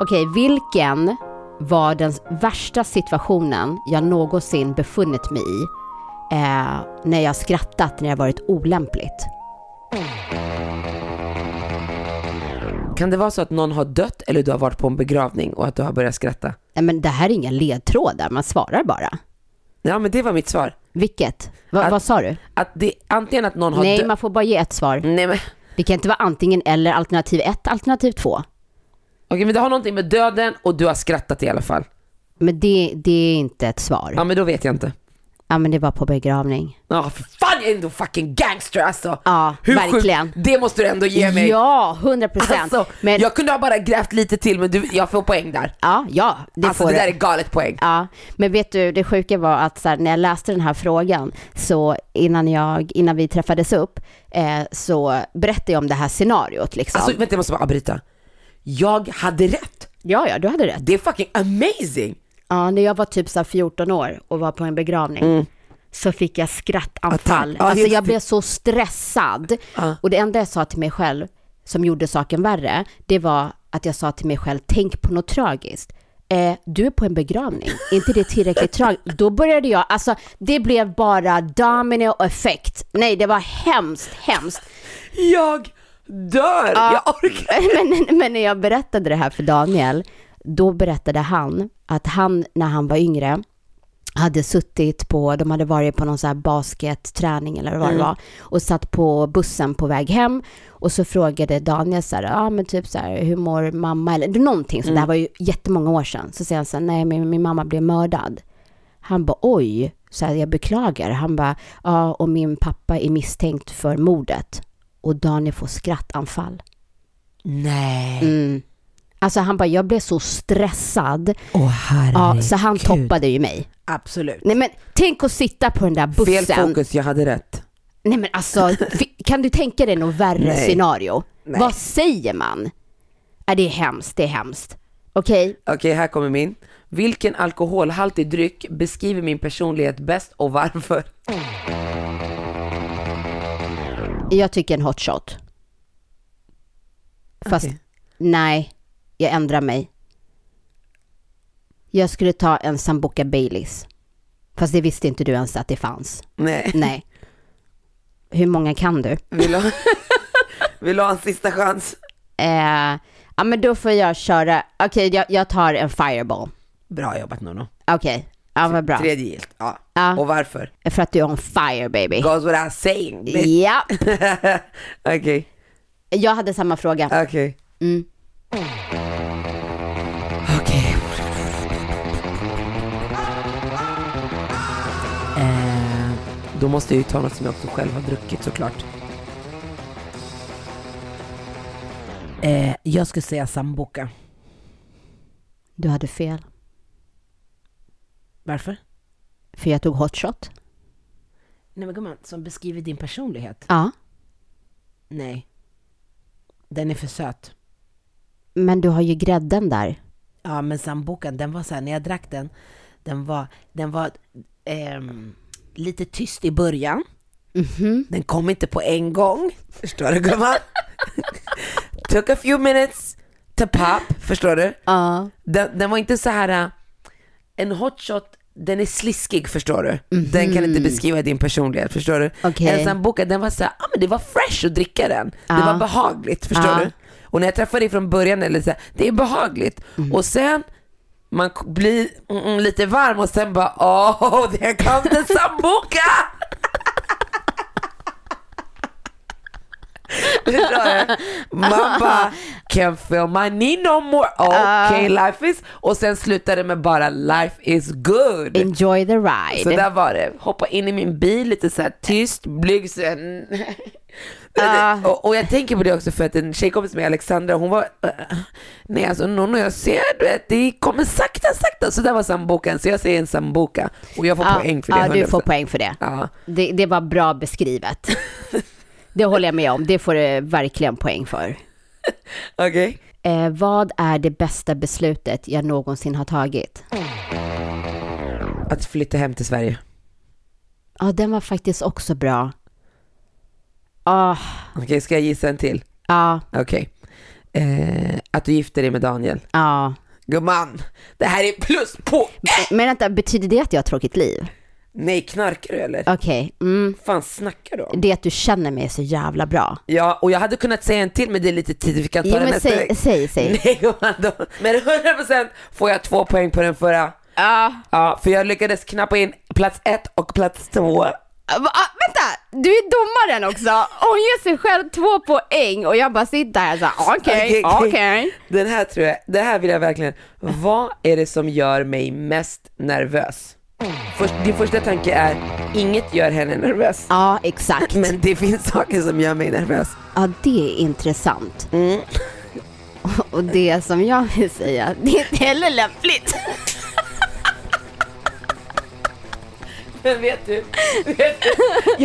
[SPEAKER 2] Okej, vilken var den värsta situationen jag någonsin befunnit mig i eh, när jag skrattat när jag varit olämpligt?
[SPEAKER 3] Kan det vara så att någon har dött eller du har varit på en begravning och att du har börjat skratta?
[SPEAKER 2] Nej men det här är inga ledtrådar, man svarar bara.
[SPEAKER 3] Ja, men det var mitt svar.
[SPEAKER 2] Vilket? Va,
[SPEAKER 3] Att-
[SPEAKER 2] vad sa du?
[SPEAKER 3] Att det, antingen att någon har
[SPEAKER 2] Nej,
[SPEAKER 3] dött...
[SPEAKER 2] man får bara ge ett svar.
[SPEAKER 3] Nej, men...
[SPEAKER 2] Det kan inte vara antingen eller, alternativ ett, alternativ två.
[SPEAKER 3] Okej, men det har någonting med döden och du har skrattat i alla fall.
[SPEAKER 2] Men det, det är inte ett svar.
[SPEAKER 3] Ja, men då vet jag inte.
[SPEAKER 2] Ja, men det var på begravning.
[SPEAKER 3] Ja, för fan jag är ändå fucking gangster alltså.
[SPEAKER 2] Ja,
[SPEAKER 3] sjukt?
[SPEAKER 2] verkligen.
[SPEAKER 3] Det måste du ändå ge mig.
[SPEAKER 2] Ja, hundra procent.
[SPEAKER 3] Alltså,
[SPEAKER 2] men,
[SPEAKER 3] jag kunde ha bara grävt lite till men du, jag får poäng där.
[SPEAKER 2] Ja, ja, det
[SPEAKER 3] alltså
[SPEAKER 2] får
[SPEAKER 3] det
[SPEAKER 2] du.
[SPEAKER 3] där är galet poäng.
[SPEAKER 2] Ja, men vet du, det sjuka var att så här, när jag läste den här frågan, så innan, jag, innan vi träffades upp, eh, så berättade jag om det här scenariot liksom.
[SPEAKER 3] Alltså vänta jag måste bara avbryta. Jag hade rätt.
[SPEAKER 2] ja, ja, du hade rätt.
[SPEAKER 3] Det är fucking amazing.
[SPEAKER 2] Ja, när jag var typ så här 14 år och var på en begravning så fick jag skrattanfall.
[SPEAKER 3] Mm. Attack. Ja,
[SPEAKER 2] alltså
[SPEAKER 3] just
[SPEAKER 2] jag
[SPEAKER 3] det.
[SPEAKER 2] blev så stressad. Och det enda jag sa till mig själv som gjorde saken värre, det var att jag sa till mig själv, tänk på något tragiskt. Eh, du är på en begravning, Är inte det tillräckligt tragiskt? Då började jag, alltså det blev bara dominoeffekt. Nej, det var hemskt, hemskt.
[SPEAKER 3] Jag dör. Jag orkar
[SPEAKER 2] men, men när jag berättade det här för Daniel, då berättade han att han, när han var yngre, hade suttit på, de hade varit på någon så här basketträning eller vad det var, och satt på bussen på väg hem och så frågade Daniel så här, ja ah, men typ så här, hur mår mamma eller någonting, så det här var ju jättemånga år sedan, så säger han så här, nej men min mamma blev mördad. Han bara oj, så här, jag beklagar. Han bara ja, och min pappa är misstänkt för mordet. Och Daniel får skrattanfall.
[SPEAKER 3] Nej.
[SPEAKER 2] Mm. Alltså han bara, jag blev så stressad.
[SPEAKER 3] Åh
[SPEAKER 2] Ja,
[SPEAKER 3] herregud.
[SPEAKER 2] så han toppade ju mig.
[SPEAKER 3] Absolut.
[SPEAKER 2] Nej men tänk att sitta på den där bussen.
[SPEAKER 3] Fel fokus, jag hade rätt.
[SPEAKER 2] Nej men alltså, fi- kan du tänka dig något värre
[SPEAKER 3] Nej.
[SPEAKER 2] scenario?
[SPEAKER 3] Nej.
[SPEAKER 2] Vad säger man? Äh, det är hemskt, det är hemskt. Okej,
[SPEAKER 3] Okej, här kommer min. Vilken alkoholhaltig dryck beskriver min personlighet bäst och varför?
[SPEAKER 2] Jag tycker en hot shot. Fast
[SPEAKER 3] Okej.
[SPEAKER 2] nej, jag ändrar mig. Jag skulle ta en Sambuca Baileys. Fast det visste inte du ens att det fanns.
[SPEAKER 3] Nej.
[SPEAKER 2] Nej. Hur många kan du?
[SPEAKER 3] Vill du ha, vill du ha en sista chans?
[SPEAKER 2] Eh, ja men då får jag köra, okej jag, jag tar en fireball.
[SPEAKER 3] Bra jobbat Nono.
[SPEAKER 2] Okej, ja vad bra.
[SPEAKER 3] Tredje gilt. Ja.
[SPEAKER 2] Ja.
[SPEAKER 3] Och varför?
[SPEAKER 2] För att du är on fire baby.
[SPEAKER 3] Goes without saying. bitch.
[SPEAKER 2] Ja,
[SPEAKER 3] Okej,
[SPEAKER 2] jag hade samma fråga.
[SPEAKER 3] okej.
[SPEAKER 2] Mm.
[SPEAKER 3] Okej. Eh, Då måste jag ju ta något som jag också själv har druckit såklart. Eh, jag skulle säga sambuca.
[SPEAKER 2] Du hade fel,
[SPEAKER 3] Varför?
[SPEAKER 2] för jag tog hot shot.
[SPEAKER 3] Nej men gumman, som beskriver din personlighet.
[SPEAKER 2] Ja,
[SPEAKER 3] Nej. Den är för söt.
[SPEAKER 2] men du har ju grädden där.
[SPEAKER 3] Ja men sambucan, den var så här, när jag drack den, den var, den var ehm, lite tyst i början. Den kom inte på en gång. Förstår du gumman? Took a few minutes to pop, förstår du?
[SPEAKER 2] Ja.
[SPEAKER 3] Den, den var inte så här, äh, en hot shot, den är sliskig förstår du. Den kan inte beskriva din personlighet, förstår du?
[SPEAKER 2] Mhm. Okej.
[SPEAKER 3] En sambuca, den var så här, ah, men det var fresh att dricka den. Det
[SPEAKER 2] Ja.
[SPEAKER 3] var behagligt, förstår
[SPEAKER 2] Ja.
[SPEAKER 3] du? Och när jag träffade dig från början, eller så här, det är behagligt.
[SPEAKER 2] Mm.
[SPEAKER 3] Och sen, man k- blir mm, mm, lite varm och sen bara, åh, där kom den sambuca! Förstår du? Man bara, can feel my need no more, okay life is, och sen slutar det med bara life is good.
[SPEAKER 2] Enjoy the ride.
[SPEAKER 3] Så där var det. Hoppa in i min bil lite så här tyst, blyg så här-
[SPEAKER 2] Ah.
[SPEAKER 3] Mm. och, och jag tänker på det också för att en tjejkompis med Alexandra, hon var, eh, nej alltså Nono jag ser du vet, det kommer sakta sakta. Så där var sambokan, så jag säger en samboka. Och jag får
[SPEAKER 2] Ja,
[SPEAKER 3] poäng för det.
[SPEAKER 2] Ja, Ah. du får
[SPEAKER 3] 100%.
[SPEAKER 2] poäng för det.
[SPEAKER 3] Ja.
[SPEAKER 2] Det, det var bra beskrivet. Det håller jag med om. Det får du verkligen poäng för.
[SPEAKER 3] Okej.
[SPEAKER 2] Eh, vad är det bästa beslutet jag någonsin har tagit?
[SPEAKER 3] Att flytta hem till Sverige.
[SPEAKER 2] Ja, den var faktiskt också bra. Ah,
[SPEAKER 3] Okej, ska jag gissa en till?
[SPEAKER 2] ja,
[SPEAKER 3] Okej. Eh, att du gifte dig med Daniel.
[SPEAKER 2] ja.
[SPEAKER 3] Gumman, det här är plus på...
[SPEAKER 2] Men vänta, betyder det att jag har tråkigt liv?
[SPEAKER 3] Nej, knarkar du eller?
[SPEAKER 2] Okej, mm.
[SPEAKER 3] fan snackar du om?
[SPEAKER 2] Det att du känner mig så jävla bra.
[SPEAKER 3] Ja, och jag hade kunnat säga en till men det är lite tidigt, vi kan ta
[SPEAKER 2] Jo,
[SPEAKER 3] den
[SPEAKER 2] men
[SPEAKER 3] nästa
[SPEAKER 2] säg-
[SPEAKER 3] vecka.
[SPEAKER 2] säg, säg.
[SPEAKER 3] Nej, gumman, då- men 100% får jag två poäng på den förra.
[SPEAKER 2] Ja.
[SPEAKER 3] Ja, för jag lyckades knappa in plats ett och plats två.
[SPEAKER 2] vänta, du är domaren också. Hon ger sig själv två poäng och jag bara sitter här såhär,
[SPEAKER 3] Okej, okej. Den här tror jag, det här vill jag verkligen. Vad är det som gör mig mest nervös? Först, din första tanke är, inget gör henne nervös.
[SPEAKER 2] Ja, exakt.
[SPEAKER 3] Men det finns saker som gör mig nervös.
[SPEAKER 2] Ja, det är intressant.
[SPEAKER 3] Mm.
[SPEAKER 2] Och det som jag vill säga, det är inte heller lämpligt.
[SPEAKER 3] Men vet du, vet du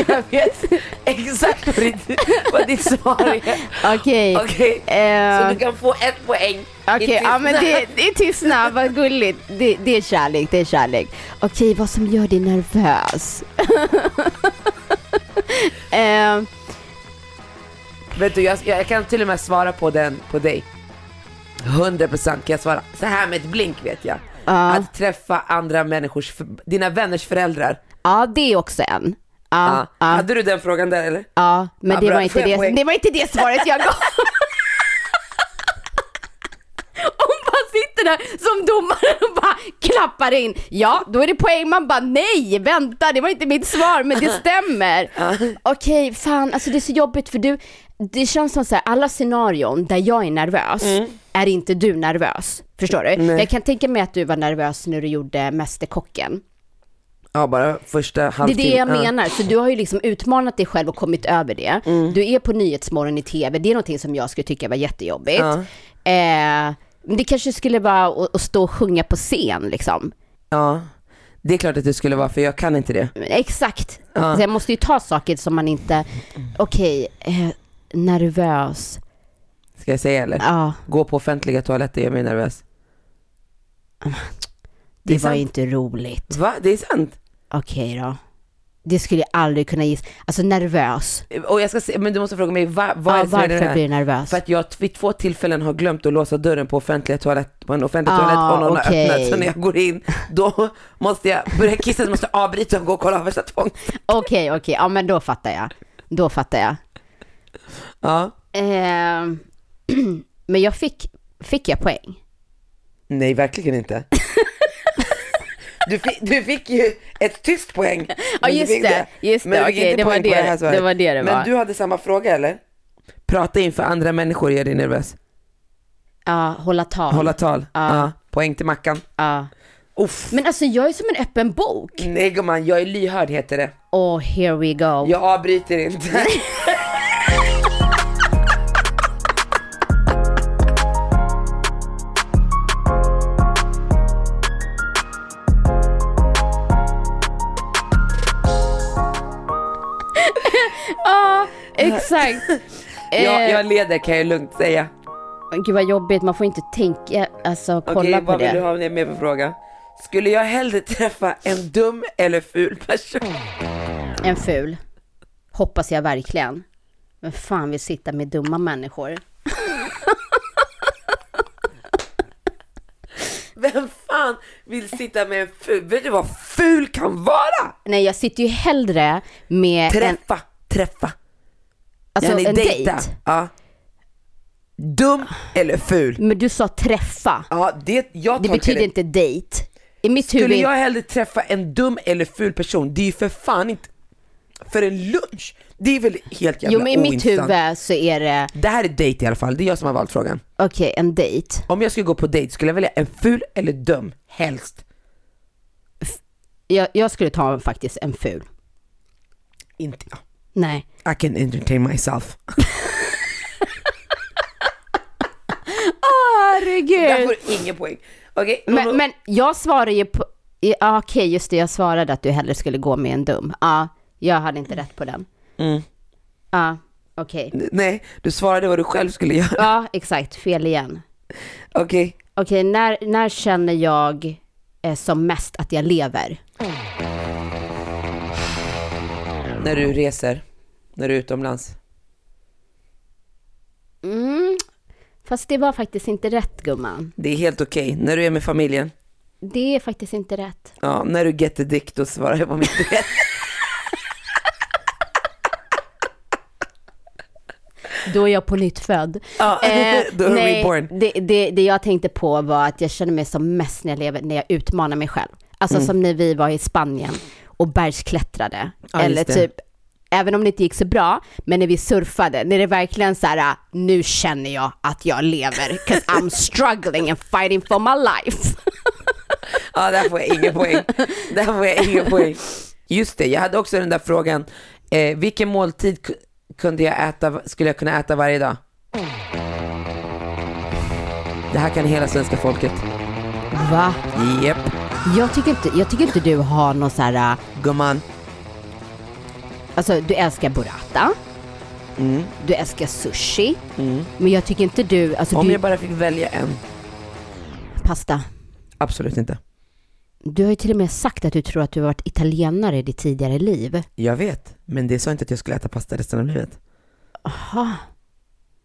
[SPEAKER 3] jag vet exakt vad ditt, vad ditt svar är.
[SPEAKER 2] Okej.
[SPEAKER 3] Okej,
[SPEAKER 2] Eh,
[SPEAKER 3] så du kan få ett poäng.
[SPEAKER 2] Okej, ja men det, det är tystnad, vad gulligt. Det, det är kärlek, det är kärlek. Okej, vad som gör dig nervös? eh,
[SPEAKER 3] Vet du, jag, jag kan till och med svara på den på dig. 100% kan jag svara. Så här med ett blink vet jag. Att träffa andra människors, för- dina vänners föräldrar.
[SPEAKER 2] ja, det är också en. Ja,
[SPEAKER 3] Ja.
[SPEAKER 2] ja,
[SPEAKER 3] Hade du den frågan där eller?
[SPEAKER 2] ja, men
[SPEAKER 3] Ja,
[SPEAKER 2] det
[SPEAKER 3] bra.
[SPEAKER 2] var, inte
[SPEAKER 3] Får jag
[SPEAKER 2] det,
[SPEAKER 3] poäng?
[SPEAKER 2] det var inte det svaret jag gav. Hon bara sitter där som domare och bara klappar in. Ja, då är det poäng. Man bara nej, vänta, det var inte mitt svar, men det stämmer. Okej, fan, alltså det är så jobbigt för du, det känns som så här, alla scenarion där jag är nervös, är inte du nervös. Förstår du? Jag kan tänka mig att du var nervös när du gjorde Mästerkocken.
[SPEAKER 3] Ja, bara första
[SPEAKER 2] Det
[SPEAKER 3] halvtimmen.
[SPEAKER 2] är det jag
[SPEAKER 3] Ja.
[SPEAKER 2] menar, så du har ju liksom utmanat dig själv och kommit över det.
[SPEAKER 3] Mm.
[SPEAKER 2] Du är på Nyhetsmorgon i TV, det är någonting som jag skulle tycka var jättejobbigt. Eh, men det kanske skulle vara att, att stå och sjunga på scen liksom.
[SPEAKER 3] Ja, det är klart att det skulle vara för jag kan inte det.
[SPEAKER 2] Men Exakt, så jag måste ju ta saker som man inte, okej, eh, nervös,
[SPEAKER 3] Ska jag säga eller?
[SPEAKER 2] ja,
[SPEAKER 3] Gå på offentliga toaletter gör mig nervös.
[SPEAKER 2] det,
[SPEAKER 3] är
[SPEAKER 2] var
[SPEAKER 3] sant.
[SPEAKER 2] ju inte roligt.
[SPEAKER 3] Va? Det är sant?
[SPEAKER 2] Okej då. det skulle jag aldrig kunna gissa. Alltså nervös.
[SPEAKER 5] Och jag ska se, men du måste fråga mig, va, vad
[SPEAKER 2] Ja,
[SPEAKER 5] är det som är det
[SPEAKER 2] varför
[SPEAKER 5] här?
[SPEAKER 2] blir du nervös?
[SPEAKER 5] För att jag vid två tillfällen har glömt att låsa dörren på, offentliga toalett, på en offentlig
[SPEAKER 2] Ah,
[SPEAKER 5] toalett och någon
[SPEAKER 2] okej.
[SPEAKER 5] har öppnat. Så när jag går in, då måste jag börja kissa, så måste jag avbryta och gå och kolla av värsta tvång.
[SPEAKER 2] Okej, okej, ja men då fattar jag. Då fattar jag.
[SPEAKER 5] Ja.
[SPEAKER 2] Ehm, men jag fick, fick jag poäng?
[SPEAKER 5] Nej, verkligen inte. Du fick, du fick ju ett tyst poäng. men du
[SPEAKER 2] just
[SPEAKER 5] fick
[SPEAKER 2] det, just
[SPEAKER 5] men
[SPEAKER 2] det,
[SPEAKER 5] du fick
[SPEAKER 2] okej,
[SPEAKER 5] inte
[SPEAKER 2] det var
[SPEAKER 5] poäng på
[SPEAKER 2] det-
[SPEAKER 5] här svaret.
[SPEAKER 2] det var det det
[SPEAKER 5] Men
[SPEAKER 2] var.
[SPEAKER 5] du hade samma fråga eller? Prata inför andra människor gör dig nervös.
[SPEAKER 2] Ja, hålla tal.
[SPEAKER 5] Hålla tal. Ja. Poäng till Mackan.
[SPEAKER 2] Ja.
[SPEAKER 5] Uff.
[SPEAKER 2] Men alltså jag är som en öppen bok.
[SPEAKER 5] Nej gumman, jag är lyhörd heter det.
[SPEAKER 2] Oh, here we go.
[SPEAKER 5] Jag avbryter inte.
[SPEAKER 2] Exakt. Eh,
[SPEAKER 5] jag, jag leder kan jag lugnt säga.
[SPEAKER 2] Gud vad jobbigt, man får inte tänka, alltså kolla
[SPEAKER 5] Okej,
[SPEAKER 2] på
[SPEAKER 5] vad vill
[SPEAKER 2] det.
[SPEAKER 5] du ha med för fråga? Skulle jag hellre träffa en dum eller ful person?
[SPEAKER 2] En ful. Hoppas jag verkligen. Men fan vill sitta med dumma människor?
[SPEAKER 5] Vem fan vill sitta med en ful? Vet du vad ful kan vara?
[SPEAKER 2] Nej, jag sitter ju hellre med en,
[SPEAKER 5] Träffa, träffa.
[SPEAKER 2] alltså,
[SPEAKER 5] Yani
[SPEAKER 2] en
[SPEAKER 5] dejta.
[SPEAKER 2] dejt.
[SPEAKER 5] Ja. Dum eller ful?
[SPEAKER 2] Men du sa träffa.
[SPEAKER 5] Ja, det, jag
[SPEAKER 2] Det
[SPEAKER 5] tolkar
[SPEAKER 2] betyder
[SPEAKER 5] det.
[SPEAKER 2] inte dejt. I mitt
[SPEAKER 5] Skulle
[SPEAKER 2] huvud...
[SPEAKER 5] jag hellre träffa en dum eller ful person? Det är ju för fan inte för en lunch. Det är väl helt jävla
[SPEAKER 2] jo, men i mitt
[SPEAKER 5] ointressant.
[SPEAKER 2] huvud så är det,
[SPEAKER 5] Det här är dejt i alla fall, det är jag som har valt frågan.
[SPEAKER 2] okej, en dejt.
[SPEAKER 5] Om jag skulle gå på dejt, skulle jag välja en ful eller dum? Helst.
[SPEAKER 2] Jag, jag skulle ta faktiskt en ful.
[SPEAKER 5] Inte jag.
[SPEAKER 2] Nej.
[SPEAKER 5] I can entertain myself. Där
[SPEAKER 2] Herregud!
[SPEAKER 5] får du ingen poäng. Okej, Lolo.
[SPEAKER 2] Eh. Men, men jag svarar ju på... i- Ja, Okej, just det, jag svarade att du hellre skulle gå med en dum. Ja, jag hade inte rätt på den.
[SPEAKER 5] Mm.
[SPEAKER 2] Ja, okej.
[SPEAKER 5] Nej, du svarade vad du själv skulle göra.
[SPEAKER 2] Ja, exakt, fel igen.
[SPEAKER 5] Okej.
[SPEAKER 2] Okej, när, när känner jag eh, som mest att jag lever?
[SPEAKER 5] När du reser, när du är utomlands.
[SPEAKER 2] Mm. Fast det var faktiskt inte rätt, gumman.
[SPEAKER 5] Det är helt okej. När du är med familjen.
[SPEAKER 2] Det är faktiskt inte rätt.
[SPEAKER 5] Ja, när du get the dick, då svarar jag på mitt rätt.
[SPEAKER 2] Då är jag på nytt född. Eh,
[SPEAKER 5] Ja, då är du
[SPEAKER 2] nej,
[SPEAKER 5] reborn.
[SPEAKER 2] Det, det, det jag tänkte på var att jag känner mig som mest när jag lever, när jag utmanar mig själv. Alltså
[SPEAKER 5] Mm.
[SPEAKER 2] som när vi var i Spanien och bergsklättrade.
[SPEAKER 5] Ja, just
[SPEAKER 2] Eller
[SPEAKER 5] det.
[SPEAKER 2] typ, även om det inte gick så bra, men när vi surfade, när det verkligen så här, nu känner jag att jag lever, 'cause I'm struggling and fighting for my life.
[SPEAKER 5] Ja, där får jag ingen poäng. Där får jag ingen poäng. Just det, jag hade också den där frågan. Eh, vilken måltid ku- kunde jag äta, skulle jag kunna äta varje dag? Det här kan hela svenska folket.
[SPEAKER 2] Va?
[SPEAKER 5] Jep,
[SPEAKER 2] Jag tycker inte, jag tycker inte du har någon så här,
[SPEAKER 5] gumman.
[SPEAKER 2] alltså du älskar burrata,
[SPEAKER 5] Mm.
[SPEAKER 2] du älskar sushi, men jag tycker inte du, alltså
[SPEAKER 5] Om
[SPEAKER 2] du,
[SPEAKER 5] jag bara fick välja en.
[SPEAKER 2] pasta.
[SPEAKER 5] Absolut inte.
[SPEAKER 2] Du har ju till och med sagt att du tror att du har varit italienare i ditt tidigare liv.
[SPEAKER 5] Jag vet, men det sa inte att jag skulle äta pasta resten av livet.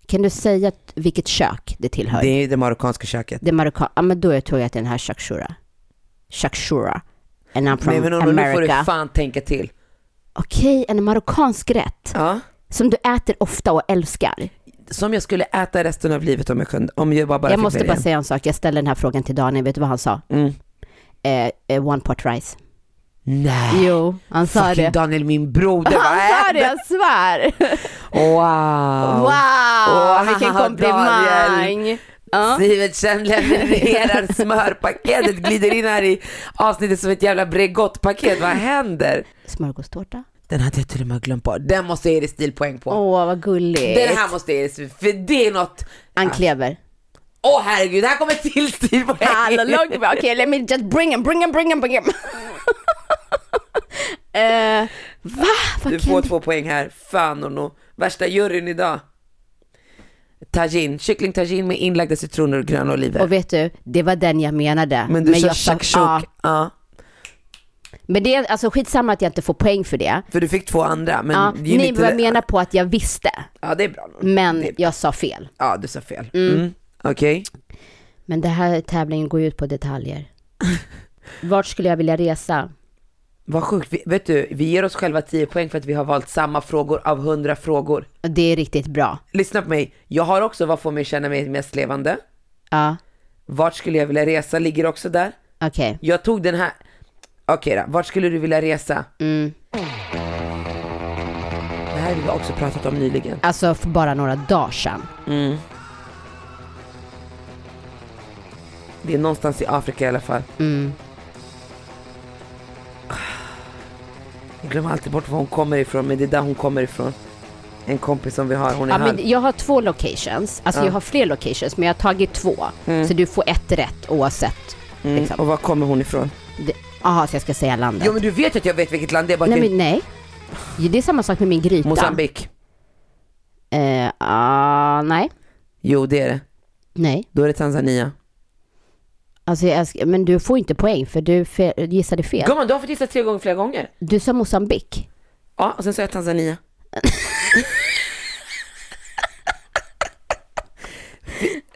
[SPEAKER 2] Kan du säga att, vilket kök det tillhör?
[SPEAKER 5] Det
[SPEAKER 2] Det,
[SPEAKER 5] är det marockanska köket.
[SPEAKER 2] marockan... Ja, men då tror jag att det är den här shakshuka. Shakshuka. And I'm from
[SPEAKER 5] Nej men Olof, nu får du
[SPEAKER 2] America.
[SPEAKER 5] fan tänka till.
[SPEAKER 2] Okej, en marockansk rätt.
[SPEAKER 5] Ja.
[SPEAKER 2] Som du äter ofta och älskar.
[SPEAKER 5] Som jag skulle äta resten av livet om jag kunde, om jag bara, bara
[SPEAKER 2] jag
[SPEAKER 5] fick
[SPEAKER 2] måste
[SPEAKER 5] välja
[SPEAKER 2] bara
[SPEAKER 5] en.
[SPEAKER 2] säga en sak. Jag ställde den här frågan till Daniel. Vet du vad han sa?
[SPEAKER 5] Mm.
[SPEAKER 2] Eh, eh, one pot rice.
[SPEAKER 5] Nej,
[SPEAKER 2] Jo, han sa
[SPEAKER 5] fucking
[SPEAKER 2] det.
[SPEAKER 5] Daniel min broder. vad
[SPEAKER 2] Han sa
[SPEAKER 5] är
[SPEAKER 2] det, jag svär.
[SPEAKER 5] Wow.
[SPEAKER 2] Wow,
[SPEAKER 5] Åh,
[SPEAKER 2] vilken
[SPEAKER 5] Daniel.
[SPEAKER 2] komplimang. Ja.
[SPEAKER 5] Sivertsen levererar smörpaketet, glider in här i avsnittet som ett jävla Bregottpaket. Vad händer?
[SPEAKER 2] Smörgåstårta.
[SPEAKER 5] Den hade jag till och med glömt på. Den måste jag ge dig stilpoäng på.
[SPEAKER 2] Åh, vad gulligt.
[SPEAKER 5] Den här måste jag ge dig, för det är något.
[SPEAKER 2] Ann Klever.
[SPEAKER 5] Åh herregud, här kommer till stilpoäng.
[SPEAKER 2] Hallå Logba, okej let me just bring him, bring him, bring him, bring him. Eh, va? Vad
[SPEAKER 5] Du
[SPEAKER 2] kul.
[SPEAKER 5] får två poäng här. Fan Orno. Värsta juryn idag. Tajin, kycklingtajin med inlagda citroner och gröna oliver.
[SPEAKER 2] Och vet du, det var den jag menade.
[SPEAKER 5] men du sa
[SPEAKER 2] jag sa-
[SPEAKER 5] shakshuka.
[SPEAKER 2] ja,
[SPEAKER 5] Ja.
[SPEAKER 2] Men det är alltså skitsamma att jag inte får poäng för det.
[SPEAKER 5] För du fick två andra. Men
[SPEAKER 2] Ja,
[SPEAKER 5] det är ju
[SPEAKER 2] ni
[SPEAKER 5] lite-
[SPEAKER 2] var menar på att jag visste,
[SPEAKER 5] Ja det är bra nog.
[SPEAKER 2] men
[SPEAKER 5] Det är-
[SPEAKER 2] jag sa fel.
[SPEAKER 5] Ja du sa fel. Mm. Okej.
[SPEAKER 2] Men det här tävlingen går ju ut på detaljer. Vart skulle jag vilja resa?
[SPEAKER 5] Vad sjukt. Vi, vet du, vi ger oss själva 10 poäng för att vi har valt samma frågor av 100 frågor.
[SPEAKER 2] Det är riktigt bra.
[SPEAKER 5] Lyssna på mig. Jag har också vad får mig känna mig mest levande.
[SPEAKER 2] Ja,
[SPEAKER 5] Vart skulle jag vilja resa ligger också där.
[SPEAKER 2] okej.
[SPEAKER 5] Jag tog den här. Okej då, vart skulle du vilja resa?
[SPEAKER 2] Mm.
[SPEAKER 5] Det här har vi också pratat om nyligen.
[SPEAKER 2] Alltså för bara några dagar sedan.
[SPEAKER 5] Det är någonstans i Afrika i alla fall. Jag glömmer alltid bort var hon kommer ifrån, men det är där hon kommer ifrån. En kompis som vi har, hon är
[SPEAKER 2] Ja,
[SPEAKER 5] halv.
[SPEAKER 2] men jag har två locations, alltså jag har fler locations, men jag har tagit två. Så du får ett rätt oavsett.
[SPEAKER 5] Mm,
[SPEAKER 2] liksom.
[SPEAKER 5] Och var kommer hon ifrån?
[SPEAKER 2] Det- Jaha, så jag ska säga landet?
[SPEAKER 5] Jo men du vet ju att jag vet vilket land det är, bara att
[SPEAKER 2] nej,
[SPEAKER 5] jag-
[SPEAKER 2] men nej. Jo, Det är samma sak med min gryta.
[SPEAKER 5] Mozambique.
[SPEAKER 2] Eh, ah, nej.
[SPEAKER 5] Jo det är det.
[SPEAKER 2] Nej.
[SPEAKER 5] Då är det Tanzania.
[SPEAKER 2] Alltså, jag, sk- men du får inte poäng för du fe- gissade fel.
[SPEAKER 5] Gumman, du har fått gissa tre gånger flera gånger.
[SPEAKER 2] Du sa Mosambik.
[SPEAKER 5] Ja, och sen sa jag Tanzania.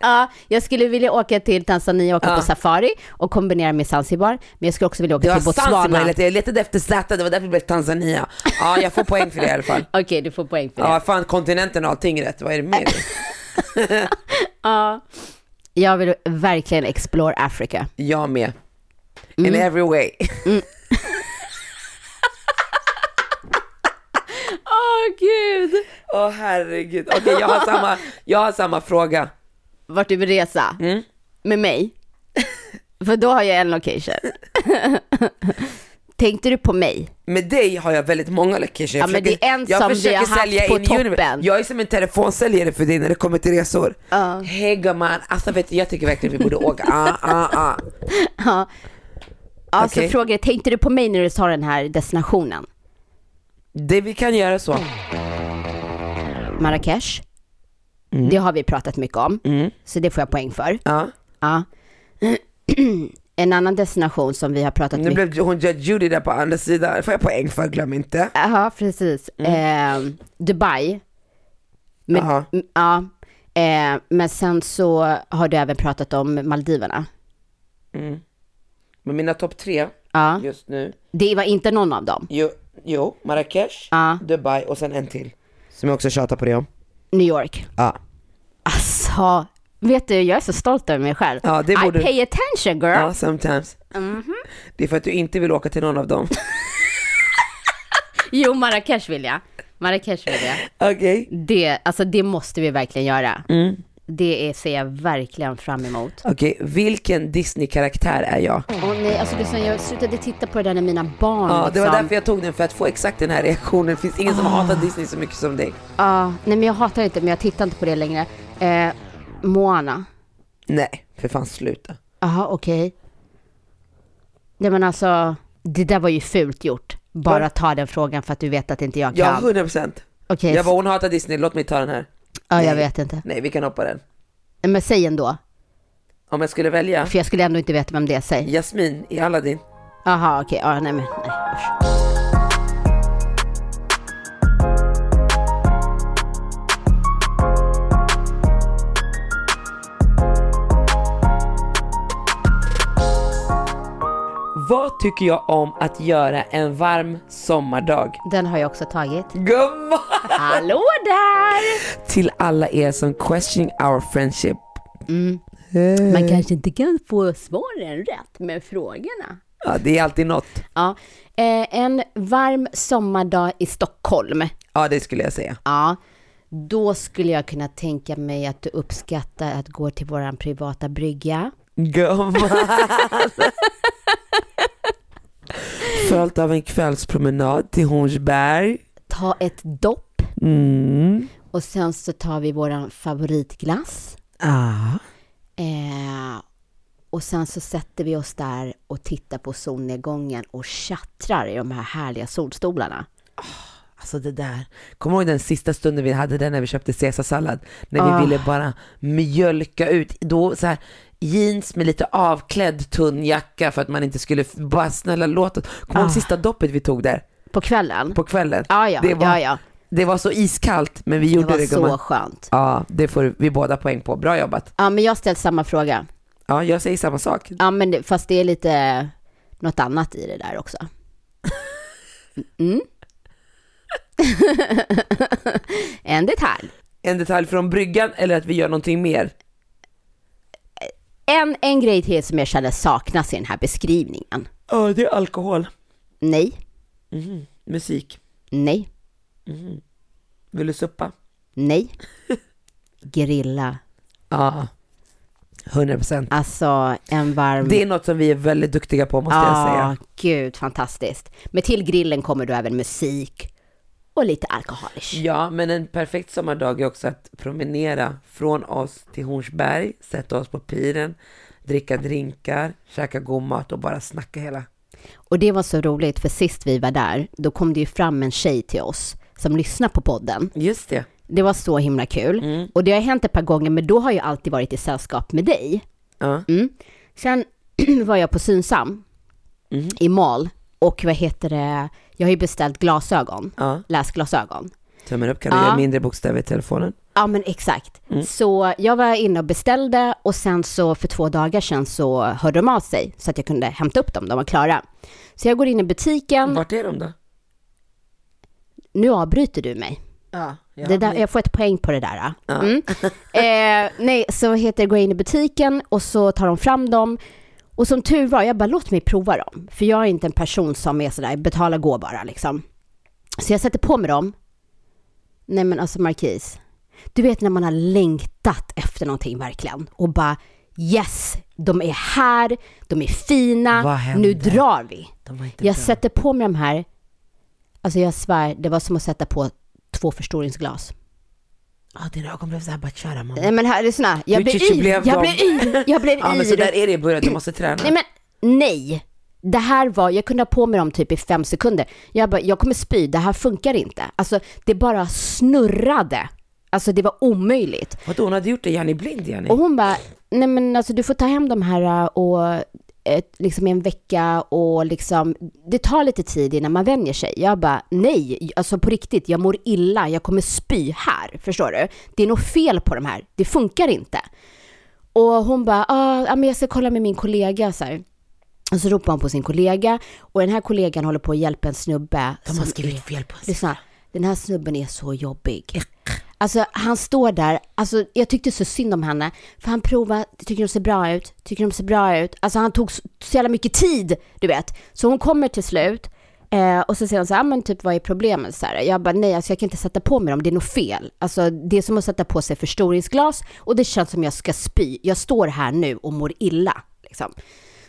[SPEAKER 2] Ja, jag skulle vilja åka till Tanzania och åka
[SPEAKER 5] Ja.
[SPEAKER 2] på safari och kombinera med Zanzibar. Men jag skulle också vilja åka
[SPEAKER 5] Det var
[SPEAKER 2] till Botswana.
[SPEAKER 5] Zanzibar,
[SPEAKER 2] Okej,
[SPEAKER 5] jag letade efter Z, det var därför det blev Tanzania. Ja, jag får poäng för det i alla fall.
[SPEAKER 2] du får poäng för det.
[SPEAKER 5] Ja, fan kontinenten och allting rätt, vad är det mer?
[SPEAKER 2] Jag vill verkligen explore Africa.
[SPEAKER 5] Jag med. In every way.
[SPEAKER 2] Åh gud!
[SPEAKER 5] Åh herregud. Okej, jag, har samma, jag har samma fråga.
[SPEAKER 2] Vart du vill resa?
[SPEAKER 5] Mm.
[SPEAKER 2] Med mig? för då har jag en location. Tänkte du på mig?
[SPEAKER 5] Med dig har jag väldigt många locations. Jag
[SPEAKER 2] Ja, men det är en
[SPEAKER 5] jag
[SPEAKER 2] som vi
[SPEAKER 5] försöker
[SPEAKER 2] har haft
[SPEAKER 5] sälja
[SPEAKER 2] på
[SPEAKER 5] in universe.
[SPEAKER 2] toppen.
[SPEAKER 5] Jag är som en telefonsäljare för dig när det kommer till resor. Hej gumman, alltså vet du, jag tycker verkligen vi borde åka. Ah, ah, ah.
[SPEAKER 2] Ja, så
[SPEAKER 5] Okej.
[SPEAKER 2] frågade jag, tänkte du på mig när du sa den här destinationen?
[SPEAKER 5] Det vi kan göra så.
[SPEAKER 2] Marrakesh?
[SPEAKER 5] Mm.
[SPEAKER 2] Det har vi pratat mycket om, så det får jag poäng för.
[SPEAKER 5] Ja.
[SPEAKER 2] Ja. En annan destination som vi har pratat
[SPEAKER 5] Nu
[SPEAKER 2] mycket om.
[SPEAKER 5] blev hon Judge Judy där på andra sidan. Det får jag poäng för, glöm inte.
[SPEAKER 2] Ja, precis.
[SPEAKER 5] Mm.
[SPEAKER 2] Eh, Dubai. Men,
[SPEAKER 5] Jaha.
[SPEAKER 2] m- ja. Eh, men sen så har du även pratat om Maldiverna.
[SPEAKER 5] Men mina topp tre
[SPEAKER 2] Ja.
[SPEAKER 5] just nu.
[SPEAKER 2] Det var inte någon av dem.
[SPEAKER 5] Jo, jo Marrakesh,
[SPEAKER 2] Ja.
[SPEAKER 5] Dubai och sen en till. Som jag också tjatar på dig om.
[SPEAKER 2] New York.
[SPEAKER 5] Ja.
[SPEAKER 2] Alltså, vet du, jag är så stolt över mig själv.
[SPEAKER 5] Ja, det borde
[SPEAKER 2] I
[SPEAKER 5] du.
[SPEAKER 2] pay attention girl.
[SPEAKER 5] Ja, sometimes. Det är för att du inte vill åka till någon av dem.
[SPEAKER 2] Jo, Marrakesh vill jag. Marrakesh vill jag.
[SPEAKER 5] Okej.
[SPEAKER 2] Det, alltså, det måste vi verkligen göra.
[SPEAKER 5] Mm.
[SPEAKER 2] Det är, ser jag verkligen fram emot.
[SPEAKER 5] Okej, vilken Disney-karaktär är jag? Ja,
[SPEAKER 2] Åh nej, alltså liksom, jag slutade titta på det där när mina barn
[SPEAKER 5] det
[SPEAKER 2] liksom.
[SPEAKER 5] var därför jag tog den, för att få exakt den här reaktionen. Det finns ingen som hatar Disney så mycket som dig.
[SPEAKER 2] Ja, nej men jag hatar inte, men jag tittar inte på det längre. Eh, Moana.
[SPEAKER 5] Nej, för fan sluta.
[SPEAKER 2] Jaha, okej. Nej men alltså, det där var ju fult gjort. Bara ta den frågan för att du vet att inte jag
[SPEAKER 5] Ja,
[SPEAKER 2] kan.
[SPEAKER 5] 100 procent.
[SPEAKER 2] Okej,
[SPEAKER 5] Jag bara, hon hatar Disney, låt mig ta den här.
[SPEAKER 2] ja, jag
[SPEAKER 5] nej.
[SPEAKER 2] vet inte.
[SPEAKER 5] Nej, vi kan hoppa den.
[SPEAKER 2] Eh, Men säg ändå,
[SPEAKER 5] Om jag skulle välja,
[SPEAKER 2] för jag skulle ändå inte veta vem det är. Säg.
[SPEAKER 5] Jasmin i Aladdin.
[SPEAKER 2] Jaha, okej. Ja, nej men nej. usch.
[SPEAKER 5] Vad tycker jag om att göra en varm sommardag?
[SPEAKER 2] Den har jag också tagit.
[SPEAKER 5] Gumman!
[SPEAKER 2] Hallå där!
[SPEAKER 5] Till alla er som questioning our friendship.
[SPEAKER 2] Man kanske inte kan få svaren rätt, men frågorna.
[SPEAKER 5] Ja, det är alltid något.
[SPEAKER 2] Ja. Eh, en varm sommardag i Stockholm.
[SPEAKER 5] Ja, det skulle jag säga.
[SPEAKER 2] Ja. Då skulle jag kunna tänka mig att du uppskattar att gå till våran privata brygga.
[SPEAKER 5] Gumman! Följt av en kvällspromenad till Hornsberg.
[SPEAKER 2] Ta ett dopp.
[SPEAKER 3] Mm.
[SPEAKER 2] Och sen så tar vi våran favoritglass.
[SPEAKER 5] Ah.
[SPEAKER 2] Eh, och sen så sätter vi oss där och tittar på solnedgången och tjattrar i de här härliga solstolarna.
[SPEAKER 5] Alltså det där. Kommer du ihåg den sista
[SPEAKER 2] Ah.
[SPEAKER 5] stunden vi hade där när vi köpte caesarsallad? När vi ville bara mjölka ut. Då så här,
[SPEAKER 3] jeans med lite avklädd tunn jacka för att man inte skulle, f- bara snälla låt oss. Kommer du ihåg sista doppet vi tog där
[SPEAKER 2] På kvällen?
[SPEAKER 3] på kvällen?
[SPEAKER 2] Ah. Ja, ja,
[SPEAKER 3] det var,
[SPEAKER 2] ja, ja.
[SPEAKER 3] Det var så iskallt men vi
[SPEAKER 2] Det
[SPEAKER 3] gjorde det,
[SPEAKER 2] var så
[SPEAKER 3] gumman.
[SPEAKER 2] skönt.
[SPEAKER 3] Ja, det får vi båda poäng på. Bra jobbat.
[SPEAKER 2] Ja, men jag har ställt samma fråga.
[SPEAKER 3] Ja, jag säger samma sak.
[SPEAKER 2] Ja, men det, fast det är lite något annat i det där också. Mm. en detalj.
[SPEAKER 3] En detalj från bryggan eller att vi gör någonting mer?
[SPEAKER 2] En, en grej till som jag känner saknas i den här beskrivningen.
[SPEAKER 3] Ja, det är alkohol.
[SPEAKER 2] Nej,
[SPEAKER 3] Musik.
[SPEAKER 2] nej,
[SPEAKER 3] Vill du suppa?
[SPEAKER 2] nej. Grilla.
[SPEAKER 3] Ja. 100 procent.
[SPEAKER 2] Alltså en varm...
[SPEAKER 3] Det är något som vi är väldigt duktiga på måste jag säga.
[SPEAKER 2] gud fantastiskt. Men till grillen kommer då även musik och lite alkoholish.
[SPEAKER 3] Ja, men en perfekt sommardag är också att promenera från oss till Hornsberg, sätta oss på piren, dricka drinkar, käka god mat och bara snacka hela.
[SPEAKER 2] Och det var så roligt för sist vi var där, då kom det ju fram en tjej till oss som lyssnar på podden.
[SPEAKER 3] Just det.
[SPEAKER 2] Det var så himla kul.
[SPEAKER 3] Mm.
[SPEAKER 2] Och det har hänt ett par gånger, men då har jag alltid varit i sällskap med dig.
[SPEAKER 3] Ja.
[SPEAKER 2] Mm. Sen var jag på Synsam
[SPEAKER 3] Mm.
[SPEAKER 2] i Mal och vad heter det, jag har ju beställt glasögon,
[SPEAKER 3] Ja.
[SPEAKER 2] läsglasögon.
[SPEAKER 3] Tummen upp, kan du
[SPEAKER 2] Ja.
[SPEAKER 3] göra mindre bokstäver i telefonen?
[SPEAKER 2] Ja men exakt.
[SPEAKER 3] Mm.
[SPEAKER 2] Så jag var inne och beställde och sen så för två dagar sedan så hörde de av sig så att jag kunde hämta upp dem, de var klara. Så jag går in i butiken,
[SPEAKER 3] Vart är de då?
[SPEAKER 2] nu avbryter du mig.
[SPEAKER 3] Ja, ja.
[SPEAKER 2] det där, jag får ett poäng på det där. ah. Mm. Eh, nej, så heter det gå in i butiken och så tar de fram dem. Och som tur var, jag bara låt mig prova dem. För jag är inte en person som är sådär, betala gå bara liksom. Så jag sätter på mig dem. Nej men alltså Marquis, du vet när man har längtat efter någonting verkligen och bara yes, de är här, de är
[SPEAKER 3] Vad
[SPEAKER 2] fina,
[SPEAKER 3] hände?
[SPEAKER 2] nu drar vi.
[SPEAKER 3] De var inte
[SPEAKER 2] Jag
[SPEAKER 3] bra.
[SPEAKER 2] sätter på mig de här, alltså jag svär, det var som att sätta på två förstoringsglas.
[SPEAKER 3] Ja, dina ögon blev såhär, bara köra mamma.
[SPEAKER 2] Nej men här, lyssna, jag
[SPEAKER 3] Richard
[SPEAKER 2] blir yr,
[SPEAKER 3] blev
[SPEAKER 2] jag
[SPEAKER 3] dem.
[SPEAKER 2] blir yr, jag blir
[SPEAKER 3] Ja, men så
[SPEAKER 2] yr.
[SPEAKER 3] där är det i början, du måste träna.
[SPEAKER 2] Nej men, nej. Det här var, jag kunde ha på mig dem typ i fem sekunder. Jag bara, jag kommer spy, det här funkar inte. Alltså det bara snurrade. Alltså det var omöjligt.
[SPEAKER 3] Vadå, hon hade gjort det Janni blind Janni?
[SPEAKER 2] Och hon bara, nej men alltså du får ta hem de här äh, och äh, liksom i en vecka och liksom, det tar lite tid innan man vänjer sig. Jag bara, nej, alltså på riktigt, jag mår illa, jag kommer spy här, förstår du? Det är något fel på de här, det funkar inte. Och hon bara, ah, ja, men jag ska kolla med min kollega så här. Och så ropar hon på sin kollega och den här kollegan håller på att hjälpa en snubbe.
[SPEAKER 3] De har
[SPEAKER 2] som
[SPEAKER 3] skrivit
[SPEAKER 2] är-
[SPEAKER 3] fel på en
[SPEAKER 2] Lyssna, den här snubben är så jobbig. Alltså han står där, alltså jag tyckte så synd om henne, för han provar, tycker de ser bra ut, tycker de ser bra ut. Alltså han tog så, så jävla mycket tid, du vet. Så hon kommer till slut eh, och så säger hon så här, "Ah, men typ vad är problemet? Så här, jag bara, nej alltså jag kan inte sätta på mig dem, det är nog fel. Alltså det är som att sätta på sig förstoringsglas och det känns som jag ska spy. Jag står här nu och mår illa, liksom.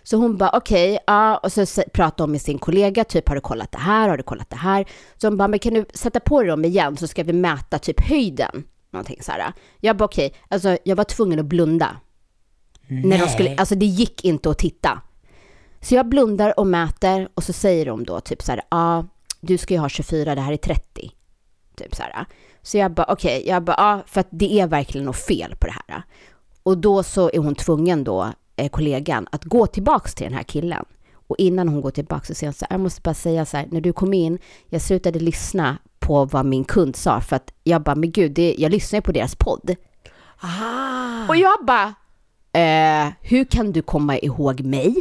[SPEAKER 2] Så hon bara okej, ja, och så s- pratade hon med sin kollega, typ har du kollat det här, har du kollat det här? Så hon bara, men kan du sätta på dig dem igen så ska vi mäta typ höjden? Någonting så här. Jag bara okej, alltså jag var tvungen att blunda. När de skulle, alltså det gick inte att titta. Så jag blundar och mäter och så säger de då typ så här, ja, ah, du ska ju ha 24, det här är 30. Typ så här. Så jag bara okej, jag bara, ja, ah, för att det är verkligen något fel på det här. Och då så är hon tvungen då, eh, kollegan, att gå tillbaks till den här killen. Och innan hon går tillbaks så säger hon så här, jag måste bara säga så här, när du kom in, jag slutade lyssna på vad min kund sa för att jag bara, men gud, det, jag lyssnar ju på deras podd.
[SPEAKER 3] Ah.
[SPEAKER 2] Och jag bara, eh, hur kan du komma ihåg mig?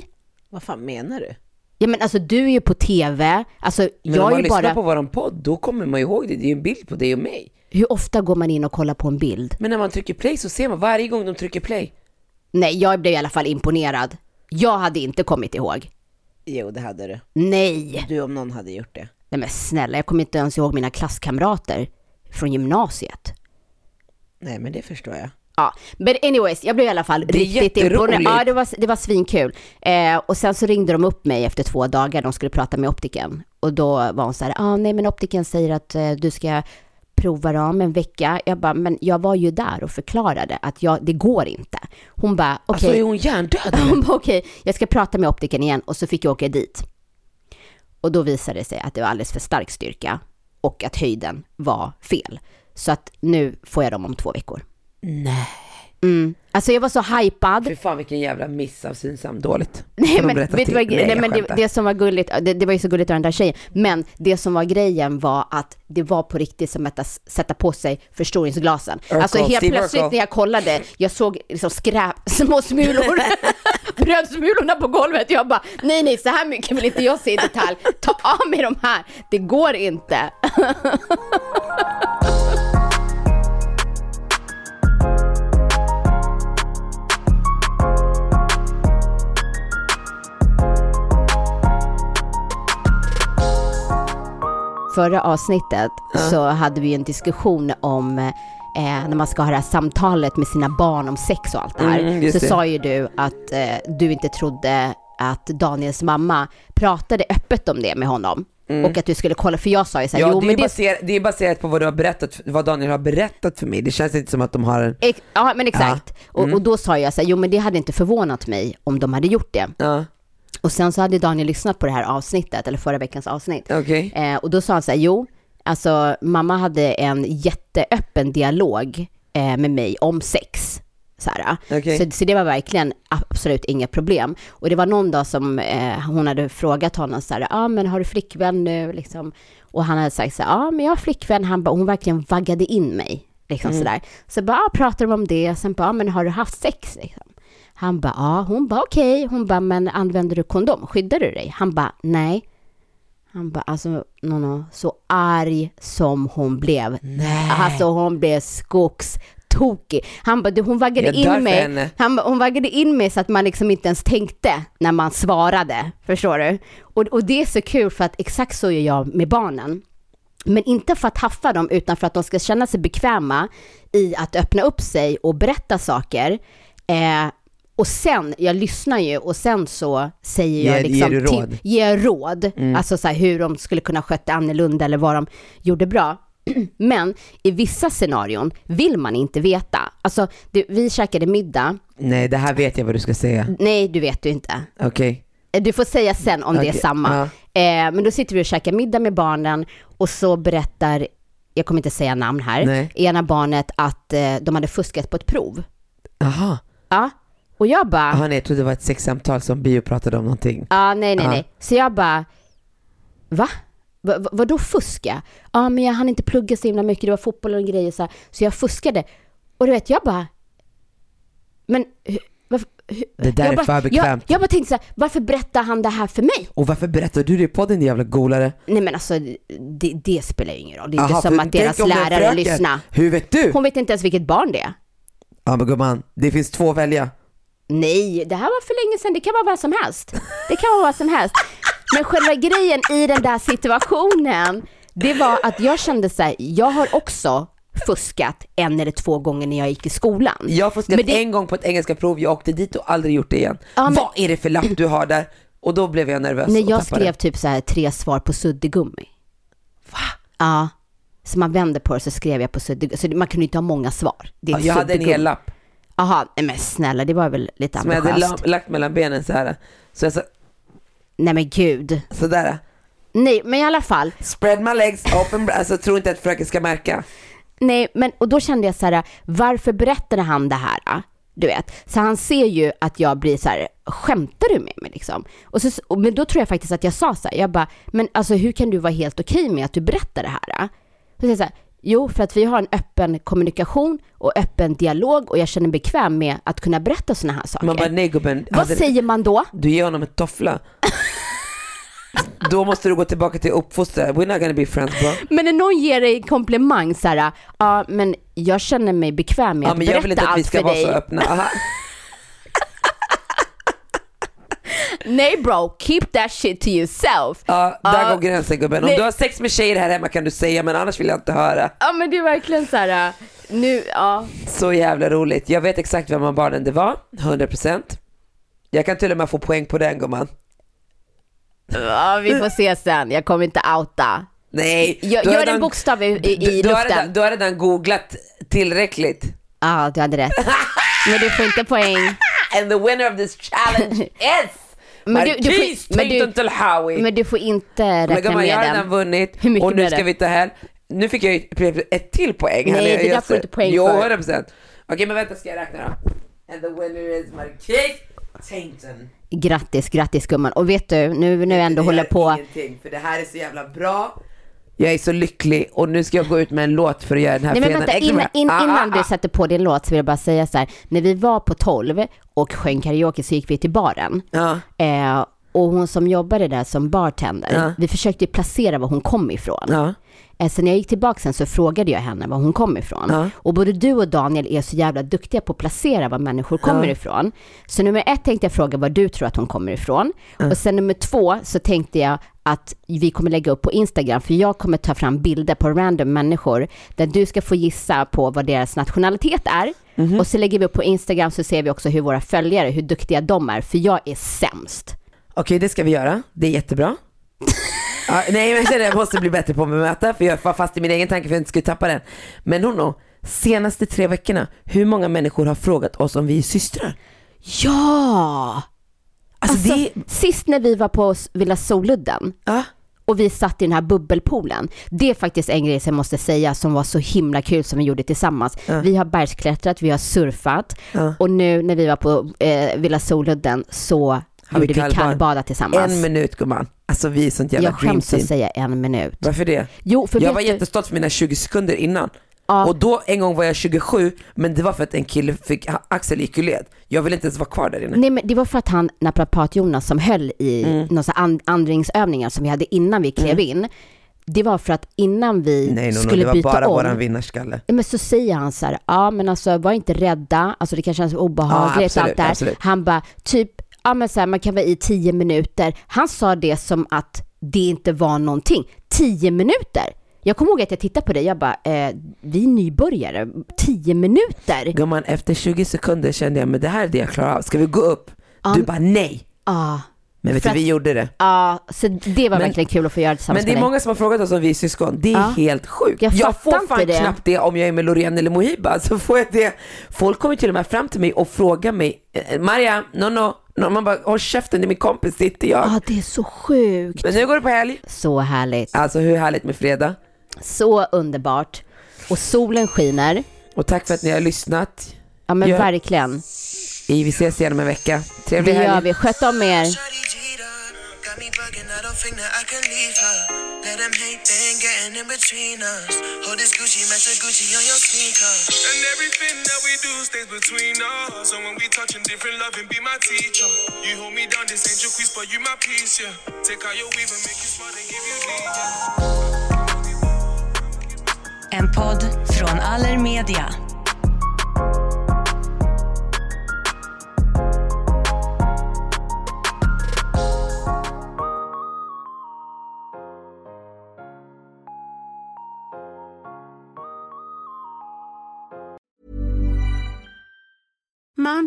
[SPEAKER 5] Vad fan menar du?
[SPEAKER 2] Ja men alltså du är ju på TV, alltså
[SPEAKER 3] Men om
[SPEAKER 2] jag
[SPEAKER 3] man
[SPEAKER 2] är ju
[SPEAKER 3] lyssnar
[SPEAKER 2] bara,
[SPEAKER 3] på våran podd, då kommer man ju ihåg det. Det är ju en bild på dig och mig.
[SPEAKER 2] hur ofta går man in och kollar på en bild?
[SPEAKER 3] Men när man trycker play så ser man varje gång de trycker play.
[SPEAKER 2] Nej, jag blev i alla fall imponerad. Jag hade inte kommit ihåg.
[SPEAKER 5] Jo, det hade du.
[SPEAKER 2] Nej!
[SPEAKER 5] Du om någon hade gjort det.
[SPEAKER 2] Nej men snälla, jag kommer inte ens ihåg mina klasskamrater från gymnasiet.
[SPEAKER 5] Nej, men det förstår jag.
[SPEAKER 2] Ja, men anyways, jag blev i alla fall
[SPEAKER 3] Det är
[SPEAKER 2] riktigt
[SPEAKER 3] jätteroligt.
[SPEAKER 2] imponerad. Ja, det var, det var svinkul. Eh, och sen så ringde de upp mig efter två dagar, de skulle prata med optiken. Och då var hon så här, ah, nej men optiken säger att eh, du ska prova dem en vecka. Jag bara, men jag var ju där och förklarade att jag, det går inte. Hon bara, okej.
[SPEAKER 3] Alltså är hon hjärndöd?
[SPEAKER 2] Hon bara okej, jag ska prata med optiken igen och så fick jag åka dit. Och då visade det sig att det var alldeles för stark styrka och att höjden var fel. Så att nu får jag dem om två veckor.
[SPEAKER 3] Nej.
[SPEAKER 2] Mm. Alltså jag var så hypad.
[SPEAKER 5] Fy fan vilken jävla miss av Synsam, dåligt. Får
[SPEAKER 2] Nej
[SPEAKER 5] de
[SPEAKER 2] men,
[SPEAKER 5] berätta
[SPEAKER 2] vet du
[SPEAKER 5] till.
[SPEAKER 2] vad, nej,
[SPEAKER 5] jag
[SPEAKER 2] men det,
[SPEAKER 5] skämtar.
[SPEAKER 2] det som var gulligt, det, det var ju så gulligt av den där tjejen, men det som var grejen var att det var på riktigt som att s- sätta på sig förstoringsglasen.
[SPEAKER 5] Urkel,
[SPEAKER 2] alltså helt
[SPEAKER 5] Steve
[SPEAKER 2] plötsligt
[SPEAKER 5] Urkel.
[SPEAKER 2] när jag kollade, jag såg liksom skräp, små smulor, brödsmulorna på golvet. Jag bara, nej nej så här mycket vill inte jag se i detalj, ta av mig de här, det går inte. förra avsnittet så hade vi en diskussion om eh, när man ska ha det här samtalet med sina barn om sex och allt det här.
[SPEAKER 5] Mm, just
[SPEAKER 2] så
[SPEAKER 5] det.
[SPEAKER 2] sa ju du att eh, du inte trodde att Daniels mamma pratade öppet om det med honom. Och att du skulle kolla, för jag sa ju så här,
[SPEAKER 5] Mm. Ja,
[SPEAKER 2] jo
[SPEAKER 5] det, är
[SPEAKER 2] men det...
[SPEAKER 5] baserat, det är baserat på vad, du har berättat, vad Daniel har berättat för mig. Det känns inte som att de har en...
[SPEAKER 2] Ex- ja men exakt.
[SPEAKER 5] Mm.
[SPEAKER 2] Och, och då sa jag så här, jo men det hade inte förvånat mig om de hade gjort det.
[SPEAKER 5] Ja,
[SPEAKER 2] Och sen så hade Daniel lyssnat på det här avsnittet, eller förra veckans avsnitt.
[SPEAKER 5] okej.
[SPEAKER 2] Eh, och då sa han så här, jo, alltså mamma hade en jätteöppen dialog eh, med mig om sex. Så, här.
[SPEAKER 5] Okej.
[SPEAKER 2] Så, så det var verkligen absolut inga problem. Och det var någon dag som eh, hon hade frågat honom så här, ja ah, men har du flickvän nu liksom? Och han hade sagt så här, ja ah, men jag har flickvän, han bara, hon verkligen vaggade in mig. Liksom
[SPEAKER 5] Mm.
[SPEAKER 2] sådär. Så bara, ah, pratar de om det, sen bara, ah, men har du haft sex? Liksom. Han bara, ja, ah. hon bara okej, hon bara, men använder du kondom? Skyddar du dig? Han bara, nej. Han bara, alltså Nono, så arg som hon blev. Nej. Alltså hon blev skogstokig. Han bara, du, hon vaggade
[SPEAKER 5] Jag dör för
[SPEAKER 2] in mig.
[SPEAKER 5] henne.
[SPEAKER 2] Han bara, hon vaggade in mig så att man liksom inte ens tänkte när man svarade. Förstår du? Och, och det är så kul för att exakt så gör jag med barnen. Men inte för att haffa dem, utan för att de ska känna sig bekväma i att öppna upp sig och berätta saker. Eh, och sen, jag lyssnar ju och sen så säger jag
[SPEAKER 5] Ger-
[SPEAKER 2] liksom
[SPEAKER 5] ger du
[SPEAKER 2] till-
[SPEAKER 5] råd? Mm.
[SPEAKER 2] ger råd. Alltså så här, hur de skulle kunna skött det annorlunda eller vad de gjorde bra. Men i vissa scenarion vill man inte veta. Alltså, du, vi käkade middag.
[SPEAKER 5] Nej, det här vet jag vad du ska säga.
[SPEAKER 2] Nej, du vet du inte.
[SPEAKER 5] Okej.
[SPEAKER 2] Eh, Du får säga sen om det är
[SPEAKER 5] Okej,
[SPEAKER 2] samma.
[SPEAKER 5] ja.
[SPEAKER 2] Eh, men då sitter vi och käkar middag med barnen och så berättar, jag kommer inte säga namn här,
[SPEAKER 5] Nej.
[SPEAKER 2] ena barnet att eh, de hade fuskat på ett prov.
[SPEAKER 5] Jaha.
[SPEAKER 2] Ja. Och jag bara,
[SPEAKER 5] Jaha, nej, jag trodde det var ett sexsamtal som Bio pratade om någonting.
[SPEAKER 2] Ja, nej, nej,
[SPEAKER 5] Ja.
[SPEAKER 2] nej. Så jag bara, va? Va, va vadå fuska? Ja, men jag hann inte plugga så himla mycket, det var fotboll och grejer så här. Så jag fuskade. Och du vet, jag bara, men hu- varför, hu-
[SPEAKER 5] Det där
[SPEAKER 2] jag
[SPEAKER 5] är
[SPEAKER 2] bara,
[SPEAKER 5] för bekvämt.
[SPEAKER 2] Jag, jag bara tänkte så här, varför berättar han det här för mig?
[SPEAKER 5] Och varför berättar du det i podden din jävla golare?
[SPEAKER 2] Nej men alltså, det, det spelar ju ingen roll. Det är
[SPEAKER 5] Jaha,
[SPEAKER 2] inte som
[SPEAKER 5] för
[SPEAKER 2] att
[SPEAKER 5] tänk
[SPEAKER 2] deras
[SPEAKER 5] om det är en
[SPEAKER 2] lärare
[SPEAKER 5] fröken.
[SPEAKER 2] lyssnar.
[SPEAKER 5] Hur vet du?
[SPEAKER 2] Hon vet inte ens vilket barn det är.
[SPEAKER 5] Ja men gumman, det finns två att välja.
[SPEAKER 2] Nej, det här var för länge sedan. Det kan vara vad som helst. Det kan vara vad som helst. Men själva grejen i den där situationen, det var att jag kände så här, jag har också fuskat en eller två gånger när jag gick i skolan.
[SPEAKER 5] Jag har fuskat
[SPEAKER 2] Men det-
[SPEAKER 5] en gång på ett engelska prov, jag åkte dit och aldrig gjort det igen.
[SPEAKER 2] men-
[SPEAKER 5] Vad är det för lapp du har där? Och då blev jag nervös
[SPEAKER 2] När
[SPEAKER 5] och
[SPEAKER 2] jag
[SPEAKER 5] tappade.
[SPEAKER 2] skrev typ så här tre svar på suddgummi. Va? Ja. Så man vänder på det så skrev jag på suddgummi. Så man kunde inte ha många svar. Det är
[SPEAKER 5] Ja,
[SPEAKER 2] ett
[SPEAKER 5] jag hade en
[SPEAKER 2] suddgummi.
[SPEAKER 5] hel lapp
[SPEAKER 2] Jaha, nej men snälla det var väl lite
[SPEAKER 5] som jag hade
[SPEAKER 2] ambitiöst.
[SPEAKER 5] la- lagt mellan benen så här. Så jag sa
[SPEAKER 2] Nej men gud.
[SPEAKER 5] sådär,
[SPEAKER 2] Nej men i alla fall.
[SPEAKER 5] spread my legs, open bra. Alltså tror inte att fröken ska märka.
[SPEAKER 2] Nej, men och då kände jag så här, varför berättade han det här? ah? Du vet, så han ser ju att jag blir så här, skämtar du med mig liksom? Och så, och, men då tror jag faktiskt att jag sa så här, jag bara, men alltså hur kan du vara helt okej med att du berättar det här? ah? Så säger jag så här, jo för att vi har en öppen kommunikation och öppen dialog och jag känner mig bekväm med att kunna berätta sådana här saker.
[SPEAKER 5] Man bara nej gubben,
[SPEAKER 2] Vad
[SPEAKER 5] hade-
[SPEAKER 2] säger man då?
[SPEAKER 5] du ger honom ett toffla. då måste du gå tillbaka till uppfostran, we're not gonna be friends bro.
[SPEAKER 2] Men när någon ger dig en komplimang så här, ja men jag känner mig bekväm med
[SPEAKER 5] Ja,
[SPEAKER 2] att
[SPEAKER 5] men
[SPEAKER 2] berätta
[SPEAKER 5] jag vill inte att vi
[SPEAKER 2] allt
[SPEAKER 5] ska
[SPEAKER 2] för
[SPEAKER 5] vara så
[SPEAKER 2] dig.
[SPEAKER 5] öppna. Aha.
[SPEAKER 2] Nej bro, keep that shit to yourself.
[SPEAKER 5] Ja, där
[SPEAKER 2] Ja.
[SPEAKER 5] går gränsen gubben. Om
[SPEAKER 2] Nej.
[SPEAKER 5] du har sex med tjejer här hemma kan du säga men annars vill jag inte höra.
[SPEAKER 2] Ja men det är verkligen så här, äh, nu, ja.
[SPEAKER 5] Så jävla roligt. Jag vet exakt vem av barnen det var, 100%. Jag kan till och med få poäng på den gumman.
[SPEAKER 2] ja vi får se sen, jag kommer inte outa.
[SPEAKER 5] Nej.
[SPEAKER 2] Gör-
[SPEAKER 5] du har
[SPEAKER 2] gör en bokstav i- i- i
[SPEAKER 5] du- du, har
[SPEAKER 2] luften.
[SPEAKER 5] redan, du har redan googlat tillräckligt.
[SPEAKER 2] Ja, du hade rätt. Men du får inte poäng.
[SPEAKER 5] And the winner of this challenge is
[SPEAKER 2] Men du- du får-
[SPEAKER 5] Marquis
[SPEAKER 2] men du-
[SPEAKER 5] Tatum Tulhawi.
[SPEAKER 2] Men du får inte räkna
[SPEAKER 5] gumman, jag har
[SPEAKER 2] med
[SPEAKER 5] redan
[SPEAKER 2] den.
[SPEAKER 5] vunnit
[SPEAKER 2] Hur mycket
[SPEAKER 5] och
[SPEAKER 2] blev
[SPEAKER 5] nu
[SPEAKER 2] det?
[SPEAKER 5] ska vi ta här. nu fick jag ju ett till poäng.
[SPEAKER 2] Nej,
[SPEAKER 5] Jag-
[SPEAKER 2] det där
[SPEAKER 5] jag-
[SPEAKER 2] får du inte poäng
[SPEAKER 5] Jo,
[SPEAKER 2] för.
[SPEAKER 5] 100 procent. Okej, men vänta ska jag räkna då. And the winner is Marquis Tainton.
[SPEAKER 2] Grattis, grattis gumman. Och vet du, nu när jag ändå
[SPEAKER 5] Det
[SPEAKER 2] håller
[SPEAKER 5] gör
[SPEAKER 2] på.
[SPEAKER 5] Ingenting, för det här är så jävla bra. Jag är så lycklig och nu ska jag gå ut med en låt för att göra den här
[SPEAKER 2] Nej men
[SPEAKER 5] fredagen
[SPEAKER 2] vänta,
[SPEAKER 5] extra
[SPEAKER 2] innan,
[SPEAKER 5] bra.
[SPEAKER 2] in,
[SPEAKER 5] Ah,
[SPEAKER 2] innan
[SPEAKER 5] ah,
[SPEAKER 2] du
[SPEAKER 5] ah.
[SPEAKER 2] sätter på din låt så vill jag bara säga så här. När vi var på 12 och sjöng karaoke så gick vi till baren.
[SPEAKER 5] Ja.
[SPEAKER 2] Eh, och hon som jobbade där som bartender,
[SPEAKER 5] Ja.
[SPEAKER 2] vi försökte ju placera var hon kom ifrån.
[SPEAKER 5] Ja.
[SPEAKER 2] Eh, Så när jag gick tillbaka sen så frågade jag henne var hon kom ifrån.
[SPEAKER 5] Ja.
[SPEAKER 2] Och både du och Daniel är så jävla duktiga på att placera var människor kommer ifrån. Så nummer ett tänkte jag fråga var du tror att hon kommer ifrån. Och sen nummer två så tänkte jag att vi kommer lägga upp på Instagram, för jag kommer ta fram bilder på random människor där du ska få gissa på vad deras nationalitet är. Och så lägger vi upp på Instagram så ser vi också hur våra följare, hur duktiga de är, för jag är sämst.
[SPEAKER 5] ah. Okej, det ska vi göra. Det är jättebra. ja, nej, men jag känner att jag måste bli bättre på att bemöta för jag var fast i min egen tanke för att jag inte skulle tappa den. Men Hono, senaste tre veckorna, hur många människor har frågat oss om vi är systrar?
[SPEAKER 2] Ja!
[SPEAKER 5] Alltså,
[SPEAKER 2] Alltså,
[SPEAKER 5] det...
[SPEAKER 2] Sist när vi var på Villa Soludden,
[SPEAKER 5] Ja.
[SPEAKER 2] och vi satt i den här bubbelpoolen. Det är faktiskt en grej som jag måste säga som var så himla kul som vi gjorde tillsammans. Vi har bergsklättrat, vi har surfat och nu när vi var på eh, Villa Soludden så
[SPEAKER 5] Har vi
[SPEAKER 2] gjorde vi
[SPEAKER 5] kallbad?
[SPEAKER 2] kallbada tillsammans.
[SPEAKER 5] En minut gumman. Alltså vi är sånt jävla
[SPEAKER 2] jag
[SPEAKER 5] dream
[SPEAKER 2] skäms att
[SPEAKER 5] team.
[SPEAKER 2] säga en minut.
[SPEAKER 5] Varför det?
[SPEAKER 2] Jo, för
[SPEAKER 5] jag
[SPEAKER 2] vet
[SPEAKER 5] var
[SPEAKER 2] du-
[SPEAKER 5] jättestolt för mina 20 sekunder innan.
[SPEAKER 2] Ja.
[SPEAKER 5] Och då en gång var jag 27, men det var för att en kille fick, Axel gick ju led. Jag ville inte ens vara kvar där inne.
[SPEAKER 2] Nej men det var för att han, naprapat-Jonas som höll i
[SPEAKER 5] Mm.
[SPEAKER 2] några så här and- andningsövningar som vi hade innan vi klev in. Det var för att innan vi
[SPEAKER 5] Nej, no, no,
[SPEAKER 2] skulle
[SPEAKER 5] det var
[SPEAKER 2] byta
[SPEAKER 5] bara
[SPEAKER 2] om.
[SPEAKER 5] våran vinnarskalle.
[SPEAKER 2] Ja, Men så säger han så här, ja men alltså var inte rädda, alltså det kan kännas
[SPEAKER 5] Ja,
[SPEAKER 2] obehagligt
[SPEAKER 5] absolut,
[SPEAKER 2] och allt det här.
[SPEAKER 5] absolut.
[SPEAKER 2] Han bara, typ, ja men så här, man kan vara i tio minuter. Han sa det som att det inte var någonting. Tio minuter! Jag kommer ihåg att jag tittade på dig, jag bara, eh, vi är nybörjare, tio minuter?
[SPEAKER 5] Gumman, efter 20 sekunder kände jag, men det här är det jag klarar av. Ska vi gå upp? Du bara nej.
[SPEAKER 2] Ja,
[SPEAKER 5] Men vet
[SPEAKER 2] För
[SPEAKER 5] du, vi
[SPEAKER 2] att-
[SPEAKER 5] gjorde det.
[SPEAKER 2] ja Ah, så det var
[SPEAKER 5] Men-
[SPEAKER 2] verkligen kul att få göra tillsammans
[SPEAKER 5] Men det är
[SPEAKER 2] med
[SPEAKER 5] många som har frågat oss om vi är syskon. Det är
[SPEAKER 2] Ja.
[SPEAKER 5] helt sjukt.
[SPEAKER 2] Jag
[SPEAKER 5] Jag,
[SPEAKER 2] fattar
[SPEAKER 5] får fan
[SPEAKER 2] inte det.
[SPEAKER 5] knappt det om jag är med Loreen eller Mohiba. Så får jag det. Folk kommer till och med fram till mig och frågar mig, eh, Maria, no no, no. Man bara, håll käften, det är min kompis, det är inte jag.
[SPEAKER 2] dig. Ja, det är så sjukt.
[SPEAKER 5] Men nu går det på helg.
[SPEAKER 2] Så härligt.
[SPEAKER 5] Alltså hur härligt med fredag.
[SPEAKER 2] Så underbart. Och solen skiner.
[SPEAKER 5] Och tack för att ni har lyssnat.
[SPEAKER 2] Ja men
[SPEAKER 5] Ja.
[SPEAKER 2] verkligen.
[SPEAKER 5] I- Vi ses igen om en vecka.
[SPEAKER 2] Det
[SPEAKER 5] Trevlig
[SPEAKER 2] gör
[SPEAKER 5] helg.
[SPEAKER 2] vi. Sköt om er.
[SPEAKER 6] Shawty cheater, got me bugging. I don't think that I can leave her. Let them hate, they ain't getting in between us. Hold this Gucci, match a Gucci on your sneaker.
[SPEAKER 7] And everything that we do stays between us. So when we touching different, love and be my teacher. You hold me down, this ain't your quiz, but you my piece, yeah. Take out your weave and make you smart and give you lead, yeah.
[SPEAKER 8] En podd från Allermedia.
[SPEAKER 3] Mom